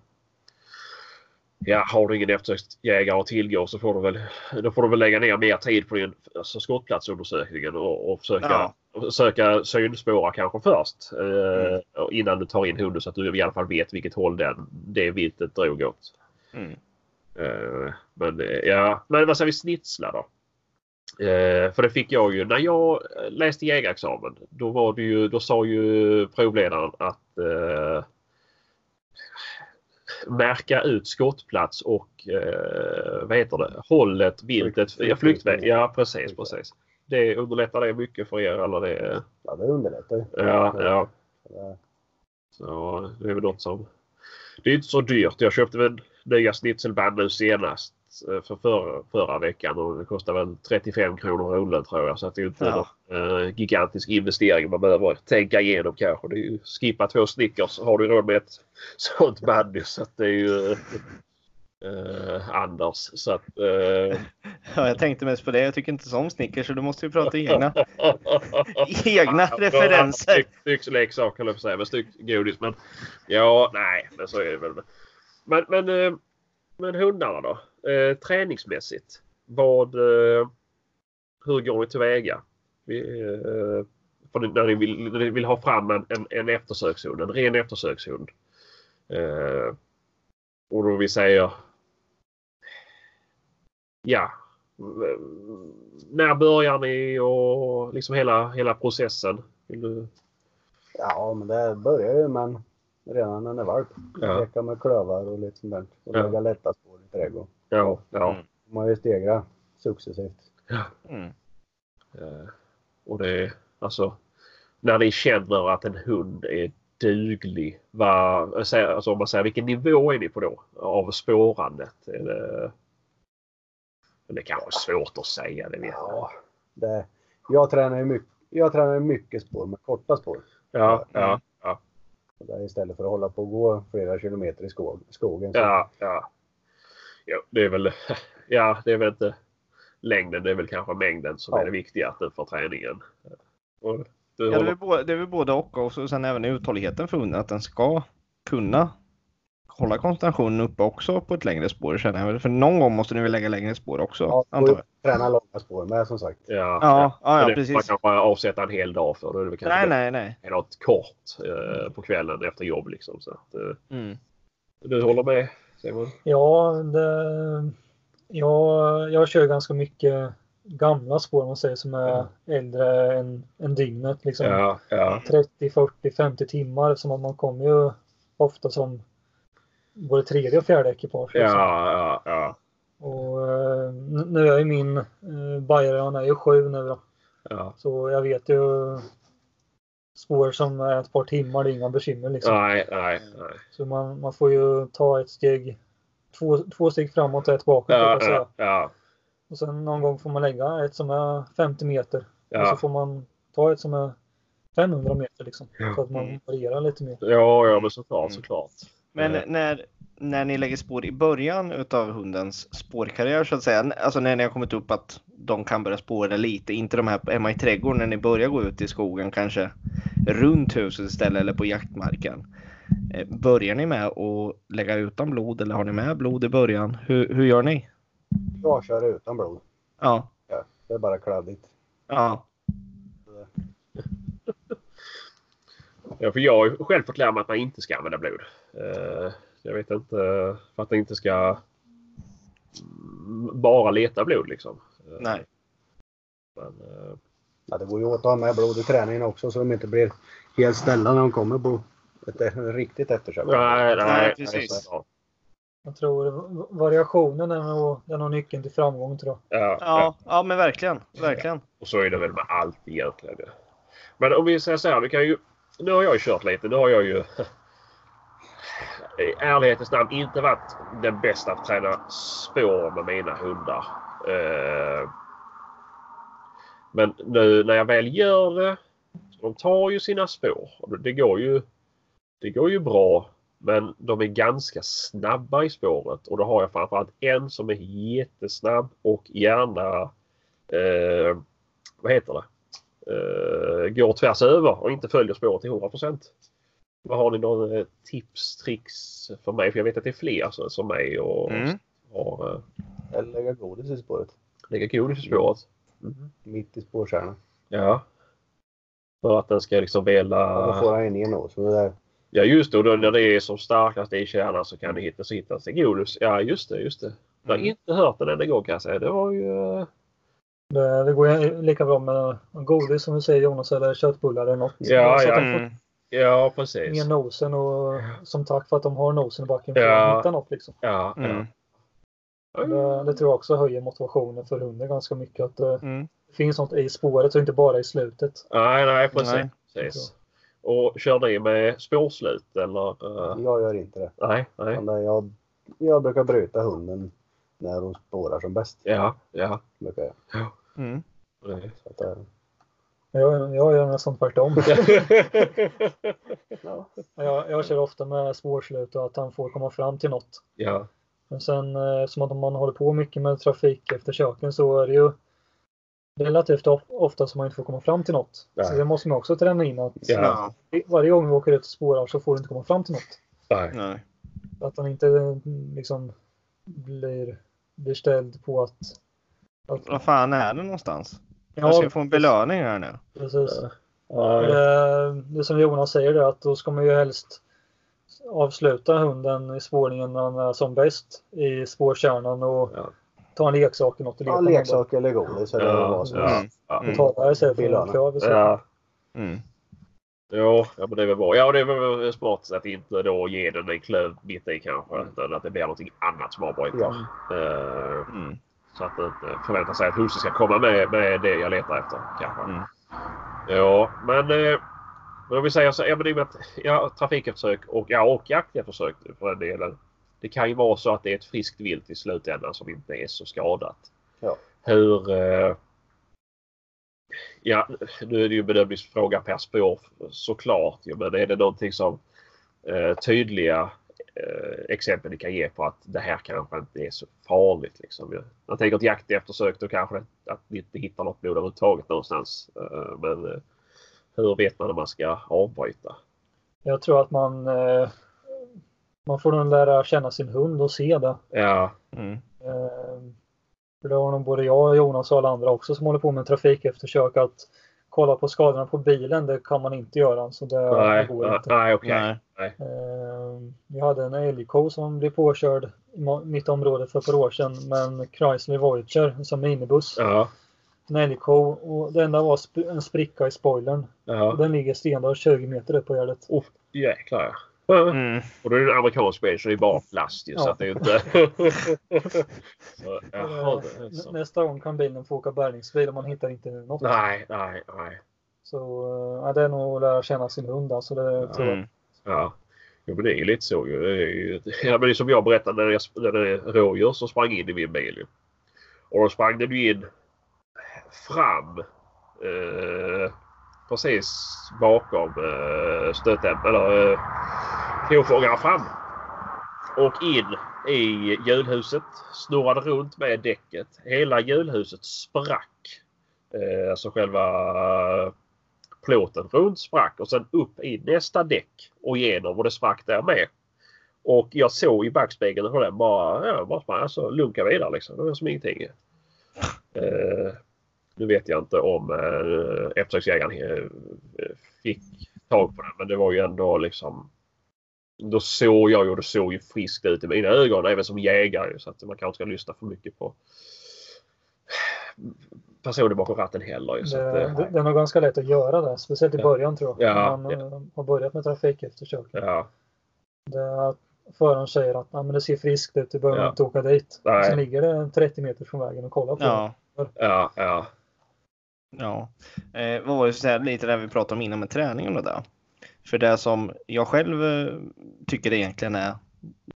Ja, har du ingen eftersöksjägare att tillgå så får du väl, då får du väl lägga ner mer tid på din alltså skottplatsundersökningen och, och försöka ja, söka synspåra kanske först. Eh, och Innan du tar in hunden så att du i alla fall vet vilket håll den, det viltet drog åt. mm. Eh, men eh, ja, men vad säger vi snitsla då? Eh, för det fick jag ju. När jag eh, läste jägarexamen då var det ju, då sa ju provledaren att eh, märka ut skottplats och eh, vad heter det? Hållet, viltet, Flykt- ja, flyktväg. Ja precis, Flyktväg. precis. Det underlättar det mycket för er eller det? Ja, det underlättar ju. Ja, ja. Ja. Så det är väl något som... Det är inte så dyrt. Jag köpte väl nya snitselband nu senast eh, för förra, förra veckan och det kostar väl 35 kronor rullen tror jag. Så att det är inte Ja. någon eh, gigantisk investering man behöver tänka igenom kanske. Det är ju, skippa två Snickers har du råd med ett sånt band ju, så att det är ju... eh, Anders. Så att... eh, ja, jag tänkte mest på det. Jag tycker inte som Snickers så du måste ju prata egna, egna Ja, referenser. Snyggt- Snyggt leksak höll jag på att säga. Men snyggt godis. Men ja, nej, men så är det väl. Men, men, eh, men hundarna då? Eh, träningsmässigt. Vad... Eh, hur går ni tillväga? Vi, eh, för när ni vill, när ni vill ha fram en, en, en eftersökshund. En ren eftersökshund. Eh, och då vi säger... Ja, Mm, När börjar ni och liksom hela, hela processen? Vill du... ja, men det börjar ju men redan när den är valp. Ja. Leka med klövar och lite sånt där. Och Ja. lägga lätta spår i trädgården. Ja, ja. Mm. Man ju stegra successivt. Mm. Eh, Och det är alltså när ni känner att en hund är duglig. Vad, alltså om man säger vilken nivå är ni på då av spårandet? Är det, men det kanske är svårt att säga, det vet jag. Ja, det, jag tränar ju mycket, jag tränar ju mycket spår med korta spår. Ja, ja, Och där istället för att hålla på och gå flera kilometer i skog, skogen. Så ja, ja. ja. Det är väl, ja, det är väl inte längden, det är väl kanske mängden som Ja. är det viktiga för träningen. Och du Ja, det, är håller väl både, det är väl både och och så sen även uthålligheten för hunden, att den ska kunna hålla koncentrationen uppe också på ett längre spår känner jag. väl. För någon gång måste ni väl lägga längre spår också? Ja, antar jag. och träna långa spår med som sagt. Ja, Ja, ja, Men ja det får Man precis. kan bara avsätta en hel dag för det. Det är väl kanske Nej, bättre nej, nej. än något kort eh, på kvällen efter jobb liksom. Så att, eh, Mm. du håller med Simon? Ja, det, ja, jag kör ganska mycket gamla spår om man säger som är Ja. äldre än, än dygnet. Liksom. Ja, ja. 30, 40, 50 timmar som att man kommer ju ofta som både tredje och fjärde ekipage. Ja, liksom. ja, ja. Och, eh, n- nu är ju min eh, Bajare, han är ju sju nu då. ja. Så jag vet ju spår som är ett par timmar, det är inga bekymmer liksom. Nej, nej, nej. Så man, man får ju ta ett steg, två, två steg framåt och ett bakåt. Ja, och, ja, ja. och sen någon gång får man lägga ett som är 50 meter. Och så Ja, får man ta ett som är 500 meter liksom. Ja. Så att man Mm. varierar lite mer. ja, ja men såklart, Mm. såklart. Men Eh. när, när ni lägger spår i början utav hundens spårkarriär så att säga, n- alltså när ni har kommit upp att de kan börja spåra lite, inte de här hemma i trädgården när ni börjar gå ut i skogen kanske runt huset istället eller på jaktmarken. Eh, Börjar ni med att lägga utan blod eller har ni med blod i början? Hur, hur gör ni? Jag kör utan blod. Ja, Ja, det är bara kladdigt. ja, Ja, för jag har ju själv fått lära mig att man inte ska använda blod. Eh, jag vet inte, eh, för att det inte ska mm, bara leta blod liksom. Eh, nej. Men, eh, Ja, det går ju åt att ha med blod i träningen också så de inte blir helt ställda när de kommer på ett ett riktigt eftersök. nej, nej, Nej, nej, precis. såklart. Jag tror v- variationen är nog, den har nyckeln till framgång tror jag. Ja, ja. Ja, ja men verkligen, verkligen. Och så är det väl med allt egentligen. ju. Men om vi säger så här, vi kan ju... Nu har jag ju kört lite. Nu har jag ju i ärlighetens namn inte varit den bästa att träna spår med mina hundar. Eh, Men nu när jag väl gör det. De tar ju sina spår. Och Det går ju, det går ju bra. Men de är ganska snabba i spåret. Och då har jag framförallt en som är jättesnabb och gärna eh, vad heter det, eh, går tvärs över och inte följer spåret till 100 Vad Har ni någon eh, tips, tricks för mig? För jag vet att det är fler som, som mig och Mm. har eh, Eller lägga godis i spåret. lägger godis i spåret. Mitt i spårkärnan. Ja. För att den ska liksom Ja, då vela. får han ju ner något. Så det där. Ja just det, och då när det är som starkast i kärnan så kan det hittas så hittas det godis. Ja just det, just det. Jag har Mm. inte hört den enda gång kan jag säga. Det var ju... eh, Det, det går ju lika bra med godis som du säger Jonas eller köttbullar eller något. Ja, så att ja. de får Mm. Ja precis. ner nosen och som tack för att de har nosen i backen för Ja. att hitta något liksom. Ja, Mm. ja. Det, det tror jag också höjer motivationen för hunden ganska mycket. Att eh, det Mm. finns något i spåret och inte bara i slutet. Nej, nej precis. Nej. precis. Och kör ni med spårslut eller? eh, Jag gör inte det. nej, nej. Utan det- Jag, jag brukar bryta hunden när de spårar som bäst. Ja, ja. Brukar jag. Mm. nej. Så att, eh, det- Jag, jag gör nästan tvärtom. Jag, jag kör ofta med spårslut och att han får komma fram till något. ja, Men sen eh, som att om man håller på mycket med trafik efter köken så är det ju relativt of- ofta som man inte får komma fram till något. Så Nej. det måste man också träna in att ja. Ja, varje gång vi åker ut och spårar så får du inte komma fram till något. Nej. nej. Att han inte eh, liksom blir, blir ställd på att... att Vad fan är det någonstans? Jag ska få en belöning här nu. precis. Nej. Det, Eh, det som Jonas säger det att då ska man ju helst avsluta hunden i spårningen när han är som bäst i spårkärnan och Ja. ta en leksak eller något att ja, leka med. leksak eller godis eller Ja, vad som ja. helst. Ja. Mm. Ta det här istället för en Bilarna. klöv. i så fall. Ja. Mm. Jo, ja, men det är väl bra. Ja, det är väl smart att inte då ge den en klöv mitt i kanske. Utan att det blir någonting annat som avbryter. Ja. Eh, Mm. så att man inte förväntar sig att husen ska komma med, med det jag letar efter kanske. Mm. Ja, men, eh, men om vi säger så. Ja, men i och med att ja, trafikeftersök och, ja, och jakteftersök för den delen. Det kan ju vara så att det är ett friskt vilt i slutändan som inte är så skadat. Ja. Hur... Eh, ja, nu är det ju en bedömningsfråga per spår såklart. Ja, men är det någonting som eh, tydliga eh, exempel ni kan ge på att det här kanske inte är så farligt. Liksom. Jag- Jag tänker att jakt eftersök då kanske det- att ni inte hittar något blod överhuvudtaget någonstans. Eh, men eh, hur vet man när man ska avbryta? Jag tror att man eh, Man får nog lära känna sin hund och se det. Ja. Mm. Eh, För det har nog både jag, Jonas och alla andra också som håller på med trafikeftersök att kolla på skadorna på bilen, det kan man inte göra. Så det, det Nej, går inte. nej okej. Nej. Eh, Vi hade en älgko som blev påkörd i ma- mitt område för ett par år sedan med en Chrysler Voyager som minibuss. Ja. En älgko och det enda var sp- en spricka i spoilern. Och Ja. den ligger stendöd 20 meter upp på gärdet. Oh, jäklar ja. Ja. Mm. Och då är det en amerikansk bil så det är bara plast ju, så Ja. att det är inte... så, jaha, det är Eh, så. Nästa gång kan bilen få åka bärgningsbil om man hittar inte något. Nej, nej, nej. Så eh, ja, det är nog att lära känna sin hund alltså. Det tror jag. Mm. Ja. Jo men det är ju lite så ju. Det är ju... Ja, men det är som jag berättade när det när det är rådjur som sprang in i min bil. ju. Och då sprang den ju in fram. Eh, precis bakom eh, stöten, eller eh, kofångaren fram. Och in i hjulhuset. Snurrade runt med däcket. Hela hjulhuset sprack. Eh, alltså själva plåten runt sprack och sen upp i nästa däck och igenom och det sprack där med. Och jag såg i backspegeln hur den bara, ja, bara sprang, alltså lunkade vidare liksom. Det var som ingenting. Eh, nu vet jag inte om eh, eftersöksjägaren eh, fick tag på den men det var ju ändå liksom då såg jag ju och det såg ju friskt ut i mina ögon även som jägare så att man kanske inte ska lyssna för mycket på personer bakom ratten heller. ju, Så att, Det, eh, det, det är nog ganska lätt att göra det. Speciellt i Ja. början tror jag. Ja, När man eh, har börjat med trafikeftersök. ja. Det är att föraren säger att "Ja, men det ser friskt ut, du behöver Ja. inte åka dit. Nej. Sen ligger det 30 meter från vägen och kollar på det. Ja. Ja, ja. Ja, eh, vad var det så här, lite där vi pratade om innan med träningen och det. För det som jag själv eh, tycker egentligen är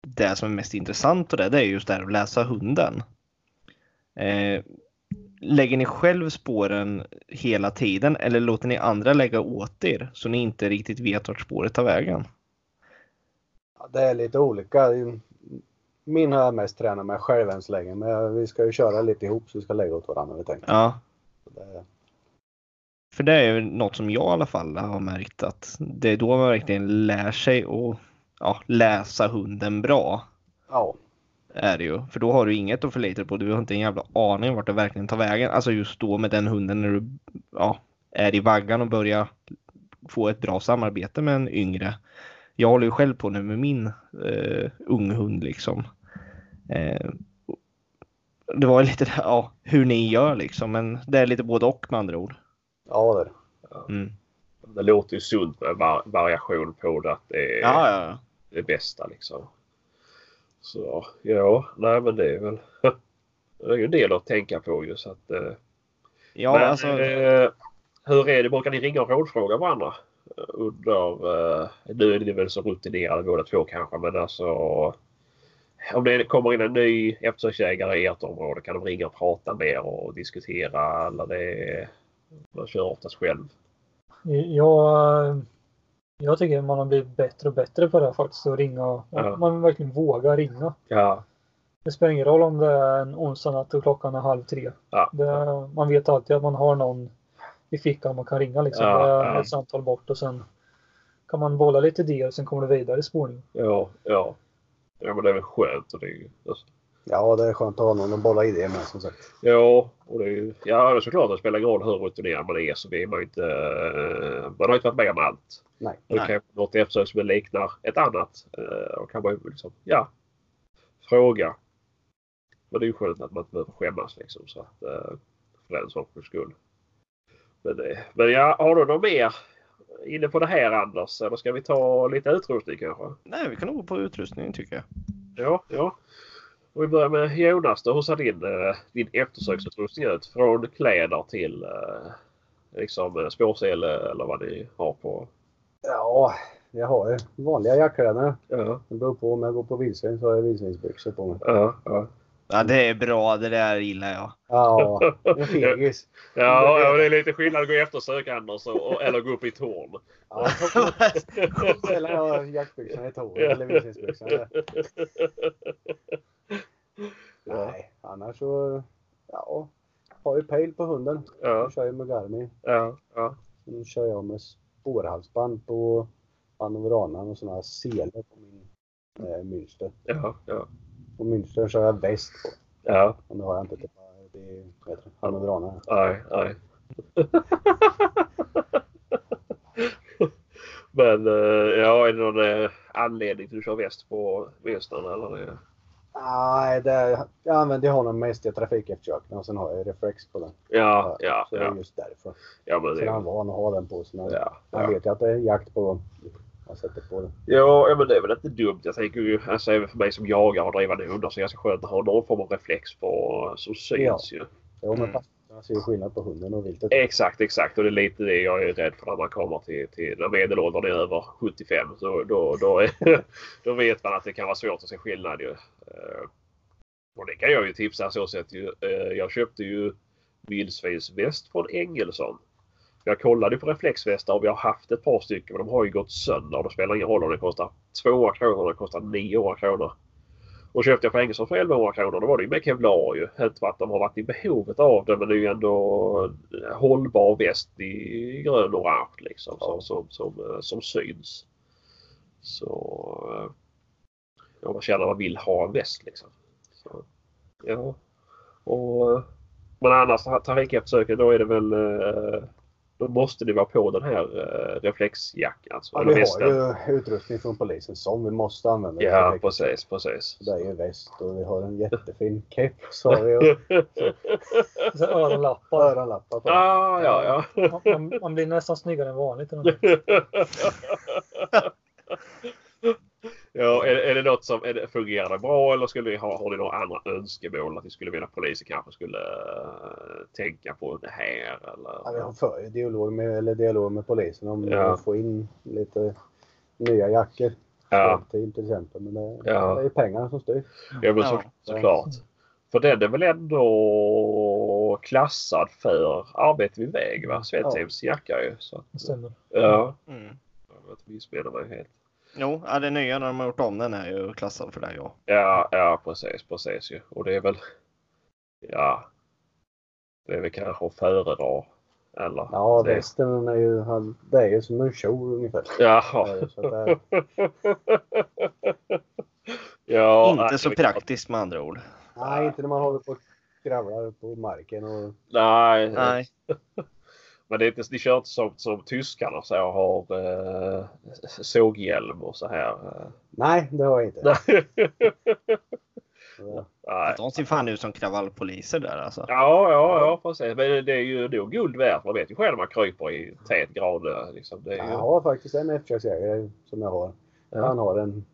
det som är mest intressant och det, det är just det här att läsa hunden. Eh, lägger ni själv spåren hela tiden eller låter ni andra lägga åt er så ni inte riktigt vet vart spåret tar vägen? Ja, Det är lite olika. Min har jag mest tränat med själv än så länge. Men vi ska ju köra lite ihop så vi ska lägga åt varandra. Vi tänker. Ja, Så det- för det är ju något som jag i alla fall har märkt att det är då man verkligen lär sig att ja, läsa hunden bra. Ja, är det ju. För då har du inget att förlita dig på. Du har inte en jävla aning om vart det verkligen tar vägen. Alltså just då med den hunden när du ja, är i vaggan och börjar få ett bra samarbete med en yngre. Jag håller ju själv på nu med min eh, ung hund liksom. Eh, det var ju lite det- ja, hur ni gör liksom. Men det är lite både och med andra ord. ja det är det. Mm. Det låter ju sunt med var variation på det att det är Ja, ja, ja. det bästa liksom. Så ja, nej men det är väl. Det är ju en del att tänka på ju så att. Eh, ja men, alltså, eh, hur är det, brukar ni ringa och rådfråga varandra? eh, Under, eh, nu är ni väl så rutinerade båda två kanske men alltså. Om det kommer in en ny eftersöksjägare i ert område kan de ringa och prata med er och diskutera eller det. Man kör oftast själv. Jag, jag tycker man har blivit bättre och bättre på det här faktiskt. Att ringa. och- Ja. Man verkligen vågar ringa. Ja. Det spelar ingen roll om det är en onsdag natt och klockan är halv tre. Ja. Det, man vet alltid att man har någon i fickan man kan ringa. Liksom. Ja, det är ja. ett samtal bort och sen kan man bolla lite idéer och sen kommer det vidare i spårningen. Ja, ja. Ja, men det är väl skönt. Och det är, ju- alltså, Ja, det är skönt att ha någon att bolla idéer med som sagt. ja, och det är, ju- ja, det är såklart att det spelar ingen roll hur rutinerad man är så är man ju inte... eh, Man har inte varit med om allt. Nej. Det Nej. kan något eftersök som liknar ett annat. eh, Och kan man ju liksom, ja, fråga. Men det är ju skönt att man inte behöver skämmas liksom så att, eh, för den sakens skull. Men, eh, men ja, har du något mer inne på det här Anders? Eller ska vi ta lite utrustning kanske? nej, vi kan nog gå på utrustningen tycker jag. Ja, ja. Och vi börjar med Jonas då. Hur ser din, eh, din eftersöksutrustning ut? Från kläder till eh, liksom eh, spårsele eller vad ni har på? Ja, jag har ju vanliga jackkläder. Ja, Det beror på om jag går på vildsvin så har jag vildsvinsbyxor på mig. ja, ja. Ja, det är bra. Det där gillar jag. Ja, en fegis. Ja, ja, det är lite skillnad att gå i eftersök Anders och, och- eller gå upp i ett torn. Ja, sällan jag har jackbyxorna i tår eller vildsvinsbyxorna. Ja, Nej, annars så... Ja, har ju pejl på hunden. ja, Jag kör ju med Garmin. ja, ja. Nu kör jag med spårhalsband på panoranan och sådana här selar på min eh, Münster. Ja, ja. Och Münster kör jag väst på. Ja, Men det har jag inte. Typ, det är vad heter det? Hannoverana. nej, nej. Men eh, ja, är det någon eh, anledning till att du kör väst på Vestan eller? Det? Nej, det, jag använder honom mest i trafikeftersöken och sen har jag reflex på den. Ja, ja, så det är ja. just därför. Ja, men Sen är han det, van att ha den på sig. men ja, Han ja. vet ju att det är jakt på... Han sätter på den. Ja, ja, men det är väl inte dumt. Jag tänker ju, alltså även för mig som jagar och drivande hundar så är det ganska skönt att ha någon form av reflex på som syns ju. Jo, men Mm. fast han ser ju skillnad på hunden och viltet. Exakt, exakt. Och det är lite det jag är rädd för när man kommer till, till när medelåldern är över 75. Så då, då, är, då vet man att det kan vara svårt att se skillnad ju. Eh, Och det kan jag ju tipsa så sett ju. Eh, Jag köpte ju vildsvinsväst från Engelsson. Jag kollade ju på reflexvästar och vi har haft ett par stycken men de har ju gått sönder. Det spelar ingen roll om det kostar 200 kronor eller det kostar 900 kronor. Och köpte jag på Engelsson för 1100 kronor då var det ju med Kevlar ju. Inte för att de har varit i behovet av det men det är ju ändå eh, hållbar väst i grön och orange liksom som, som, som, eh, som syns. Så eh, ja, man känner att man vill ha en väst liksom. Så, ja. Och, eh, men annars trafikeftersöken då är det väl eh, då måste det vara på den här eh, reflexjackan. Alltså, Ja, eller vi västen. har ju utrustning från polisen som vi måste använda. Ja precis, precis. Det är ju väst och vi har en jättefin keps har vi och Så här Öronlappar. öronlappar på. Ah, ja, ja. Man- Man, man blir nästan snyggare än vanligt. i den här. ja, är, är det något som är det, fungerar det bra eller skulle ni ha, har ni några andra önskemål att ni skulle vilja att polisen kanske skulle eh, tänka på det här Ja, vi har eller? för dialog med, eller dialog med polisen om Ja. att få in lite nya jackor. Ja, Till, till exempel. Men det, Ja. det är pengarna som styr. ja men så, Ja. såklart. För den är väl ändå klassad för arbete vid väg va? Svensheims jacka ju. Så, Det att- stämmer. ja, Mm. jag vet inte, missminner mig helt. Jo, ja, det nya när de har gjort om den är ju klassad för det. Ja. Ja, ja precis, precis ju. Och det är väl, ja, det är väl kanske att föredra. Eller? Ja, det- västen är ju, han- det är ju som en kjol ungefär. Jaha. Ja, så att det, ja, nej, Inte så det- praktiskt med andra ord. Ah. nej, inte när man håller på och skravlar på marken. Och, Nej, Nej. men det är inte, ni kör inte som, som tyskarna så här, har eh, såghjälm och så här. eh. nej, det har jag inte. Nej. Så- Nej. De ser fan ut som kravallpoliser där alltså. Ja, ja, ja, precis. Men det- det är ju nog guld värt. Man vet ju själv när man kryper i tät grad. Liksom. Det är ju... Jag har faktiskt en eftersöksjägare som jag har. Ja. Han har en,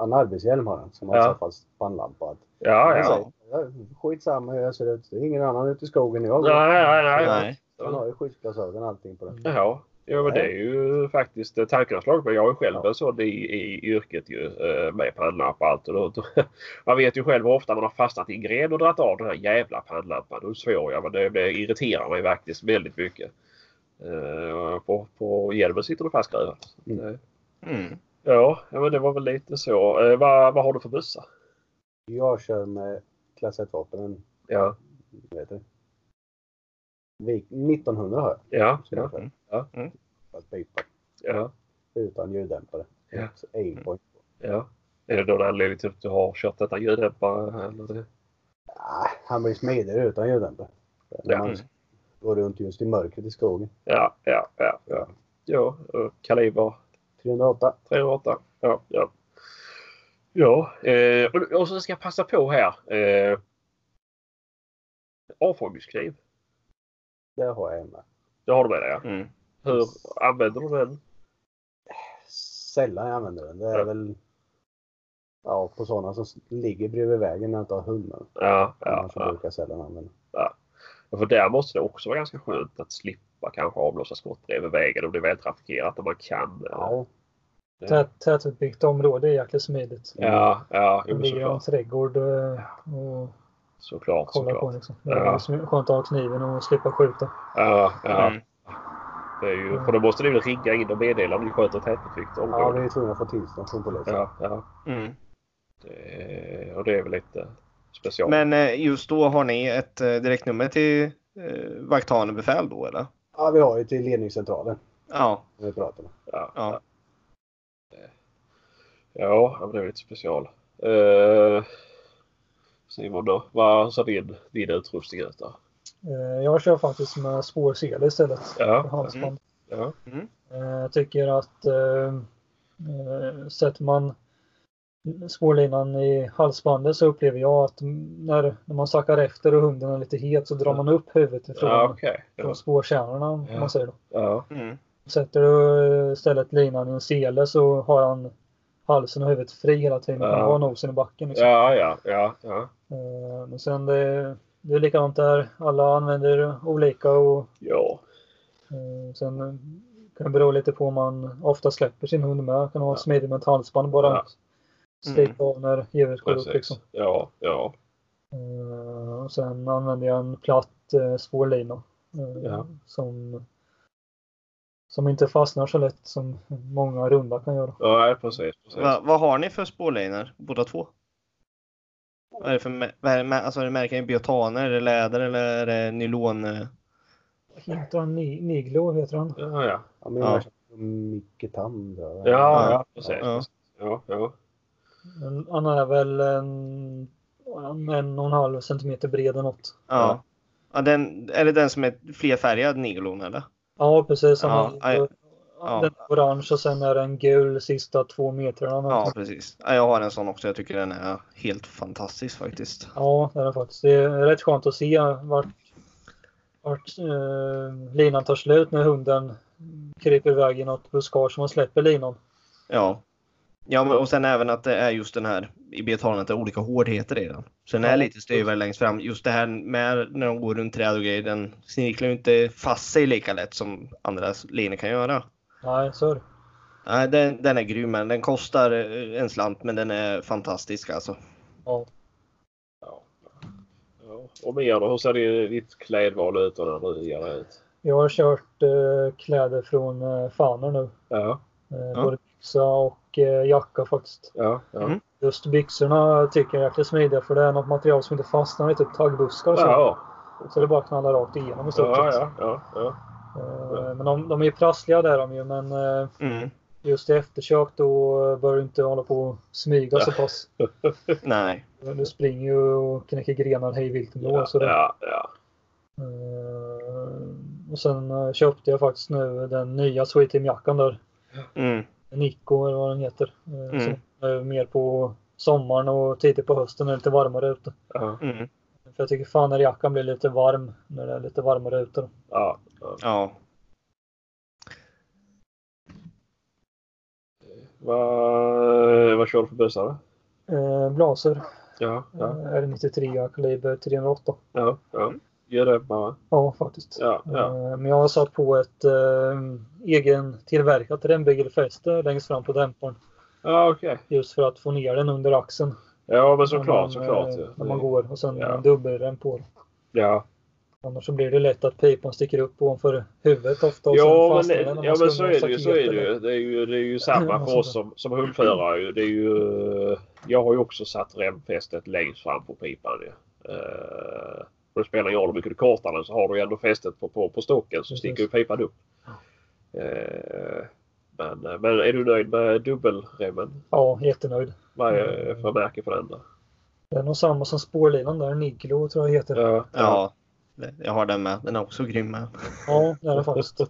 en arbetshjälm har han, som han Ja. satt fast på en lampa. Ja, Han ja. säger, "Ja, Skitsamma hur jag ser ut. Det är ingen annan ute i skogen än jag. Nej, nej, nej. Nej. Han har ju skyddsglasögon och allting på den. Ja, Mm. ja men det är ju faktiskt eh, tanken har slagit mig. Jag är ju själv en sån i, i yrket ju eh, med pannlampa och allt. Och då, då, man vet ju själv hur ofta man har fastnat i en gren och dragit av den här jävla pannlampan. Då svor jag men det, det irriterar mig faktiskt väldigt mycket. Eh, på, på hjälmen sitter det fastskruvat. Mm. Eh, Mm. Ja, ja, men det var väl lite så. Eh, vad, vad har du för bössa? Jag kör med klass 1-vapnen. Ja, Vet du. Vik- 1900 har jag. ja, som ja, jag kör. ja, mm. För att pipa. ja. Utan ljuddämpare. Ja. Så aimpoint. ja. Är det någon anledning till att typ du har kört detta ljuddämpare? eller det? Ah, han blir smidigare utan ljuddämpare. När Ja. Mm. man går runt just i mörkret i skogen. Ja, ja, ja. Ja, ja eh, kaliber 308. 308. Ja, ja. Ja, eh, och- och så ska jag passa på här. Eh, avfångningskniv. Det har jag hemma. Det har du med dig ja. Mm. Hur använder du den? Sällan jag använder den. Det är Ja. väl ja, på sådana som ligger bredvid vägen när jag inte har hund med dem. Ja, ja, Annars ja. brukar jag sällan använda För där måste det också vara ganska skönt att slippa kanske avlossa skott bredvid vägen om det är vältrafikerat och man kan. eh, Ja, Tät- Tätbebyggt område är jäkligt smidigt. ja, ja jo, Det men ligger en såklart. trädgård eh, och Såklart, kollar på såklart. liksom. Det är Ja. liksom skönt att ha kniven och slippa skjuta. Ja, ja. Mm. Det är Mm. ju, för då måste ni väl ringa in och meddela om ni sköter ett tätbebyggt ja vi område. är tvungna att få tillstånd från polisen. Ja, ja. Mm. Det, Eh, och det är väl lite speciellt. Men eh, just då har ni ett eh, direktnummer till eh, vakthanebefäl då eller? Ja, vi har ju till ledningscentralen Ja. när vi pratar med. ja, ja. Ja, men det är lite special. Eh, Simon då, vad ser din, din utrustning ut då? Eh, Jag kör faktiskt med spårsele istället. Ja, för Halsband. ja. Eh, Jag tycker att eh, eh, sätter man spårlinan i halsbandet så upplever jag att när, när man sackar efter och hunden är lite het så drar man upp huvudet ifrån, ja okej. Ja. från spårkärnorna. om Ja. Man säger då. Ja. Mm. Sätter du istället linan i en sele så har han halsen och huvudet fri hela tiden. Ja. Han har nosen i backen. Liksom. ja, ja, ja, ja. Eh, Men sen det, det är likadant där. Alla använder olika och Ja, Eh, Sen eh, kan det bero lite på om man ofta släpper sin hund med. Kan ha Ja. smidig med ett halsband bara. Ja. Mm. Sticka av när djuret går upp precis. liksom. Ja, ja. Eh, Och sen använder jag en platt eh, spårlina. eh, Ja. Som, som inte fastnar så lätt som många runda kan göra. Nej, precis. precis. Va, vad har ni för spårlinor båda två? Vad är det för mä- vad är det, mä- alltså, är det märken? Biotaner, är det läder eller är det nylon? eh? Inte en ni- Niglo heter han. Ja, ja. Ja, men Ja. jag ja. Micke Tam då. Ja, ja, precis. Ja. precis. Ja, ja. Men Han är väl en, en, en och en halv centimeter bred eller något. Ja. ja den, är det den som är flerfärgad nylon eller? Ja, precis. Han Ja, är, ja. Den är orange och sen är den gul sista två metrarna. Ja, precis. Ja, jag har en sån också. Jag tycker den är helt fantastisk faktiskt. ja, det är den faktiskt. Det är rätt skönt att se vart, vart eh, linan tar slut när hunden kryper iväg i något buskage som man släpper linan. Ja. Ja, men, och sen även att det är just den här i betalandet, det är olika hårdheter i den. Så den är Ja, lite styvare längst fram. Just det här med när de går runt träd och grejer, den snirklar ju inte fast sig lika lätt som andra linor kan göra. Nej, så är det. Nej, den, den är grym. men Den kostar eh, en slant, men den är fantastisk alltså. Ja. ja. Och Mia då, hur ser din- ditt klädval ut och den ryggen ut? Jag har kört eh, kläder från eh, Faner nu. Ja, Eh, Ja. Både byxa och eh, jacka faktiskt. ja, ja. Mm. Just byxorna tycker jag är jäkligt smidiga för det är något material som inte fastnar i typ taggbuskar och så. Ja, Så det bara knallar rakt igenom i stort ja, sett. ja, ja, ja. Eh, Men de, de är ju prassliga där de ju, men eh, Mm. just i eftersök då eh, bör du inte hålla på och smyga så pass. Nej. Du springer ju och knäcker grenar hej vilt ändå. Ja, så det, ja, ja. eh, Och sen eh, köpte jag faktiskt nu den nya Sweet Team-jackan där. Mm. Nico eller vad den heter. Eh, Mm. Som är mer på sommaren och tidigt på hösten när det är lite varmare ute. Ja, Mm. För jag tycker fan när jackan blir lite varm när det är lite varmare ute. då. ja. Ja. Vad, vad kör du för bussar då? Eh, blaser. Ja, ja, Ja. Är 93 kaliber 308. ja. ja. Gör det bara. Ja, faktiskt. Ja, ja. Eh, Men jag har satt på ett eh, egen tillverkat rembygelfäste längst fram på dämparen. Ja, okej. Just för att få ner den under axeln. Ja, men när man, såklart, såklart. eh, ju. När man går och sen Ja. en dubbelrem på den. Ja, Annars så blir det lätt att pipan sticker upp ovanför huvudet ofta. Och sen ja fastnar den om men, man ja, skulle men så är det ha ju. Så staket är det, eller- ju. Det, är ju det är ju samma för oss som, som hundförare. ju. Det är ju, jag har ju också satt remfästet längst fram på pipan. ju. Eh, och det spelar ingen roll hur mycket du kortar den så har du ju ändå fästet på, på, på stocken så Precis. sticker ju pipan upp. Eh, men, men är du nöjd med dubbelremmen? Ja, jättenöjd. Vad är för märke på den? då? Det är nog samma som spårlinan där, Niglo tror jag heter. Ja, Ja, Ja. Jag har den med. Den är också grym med. det är det faktiskt.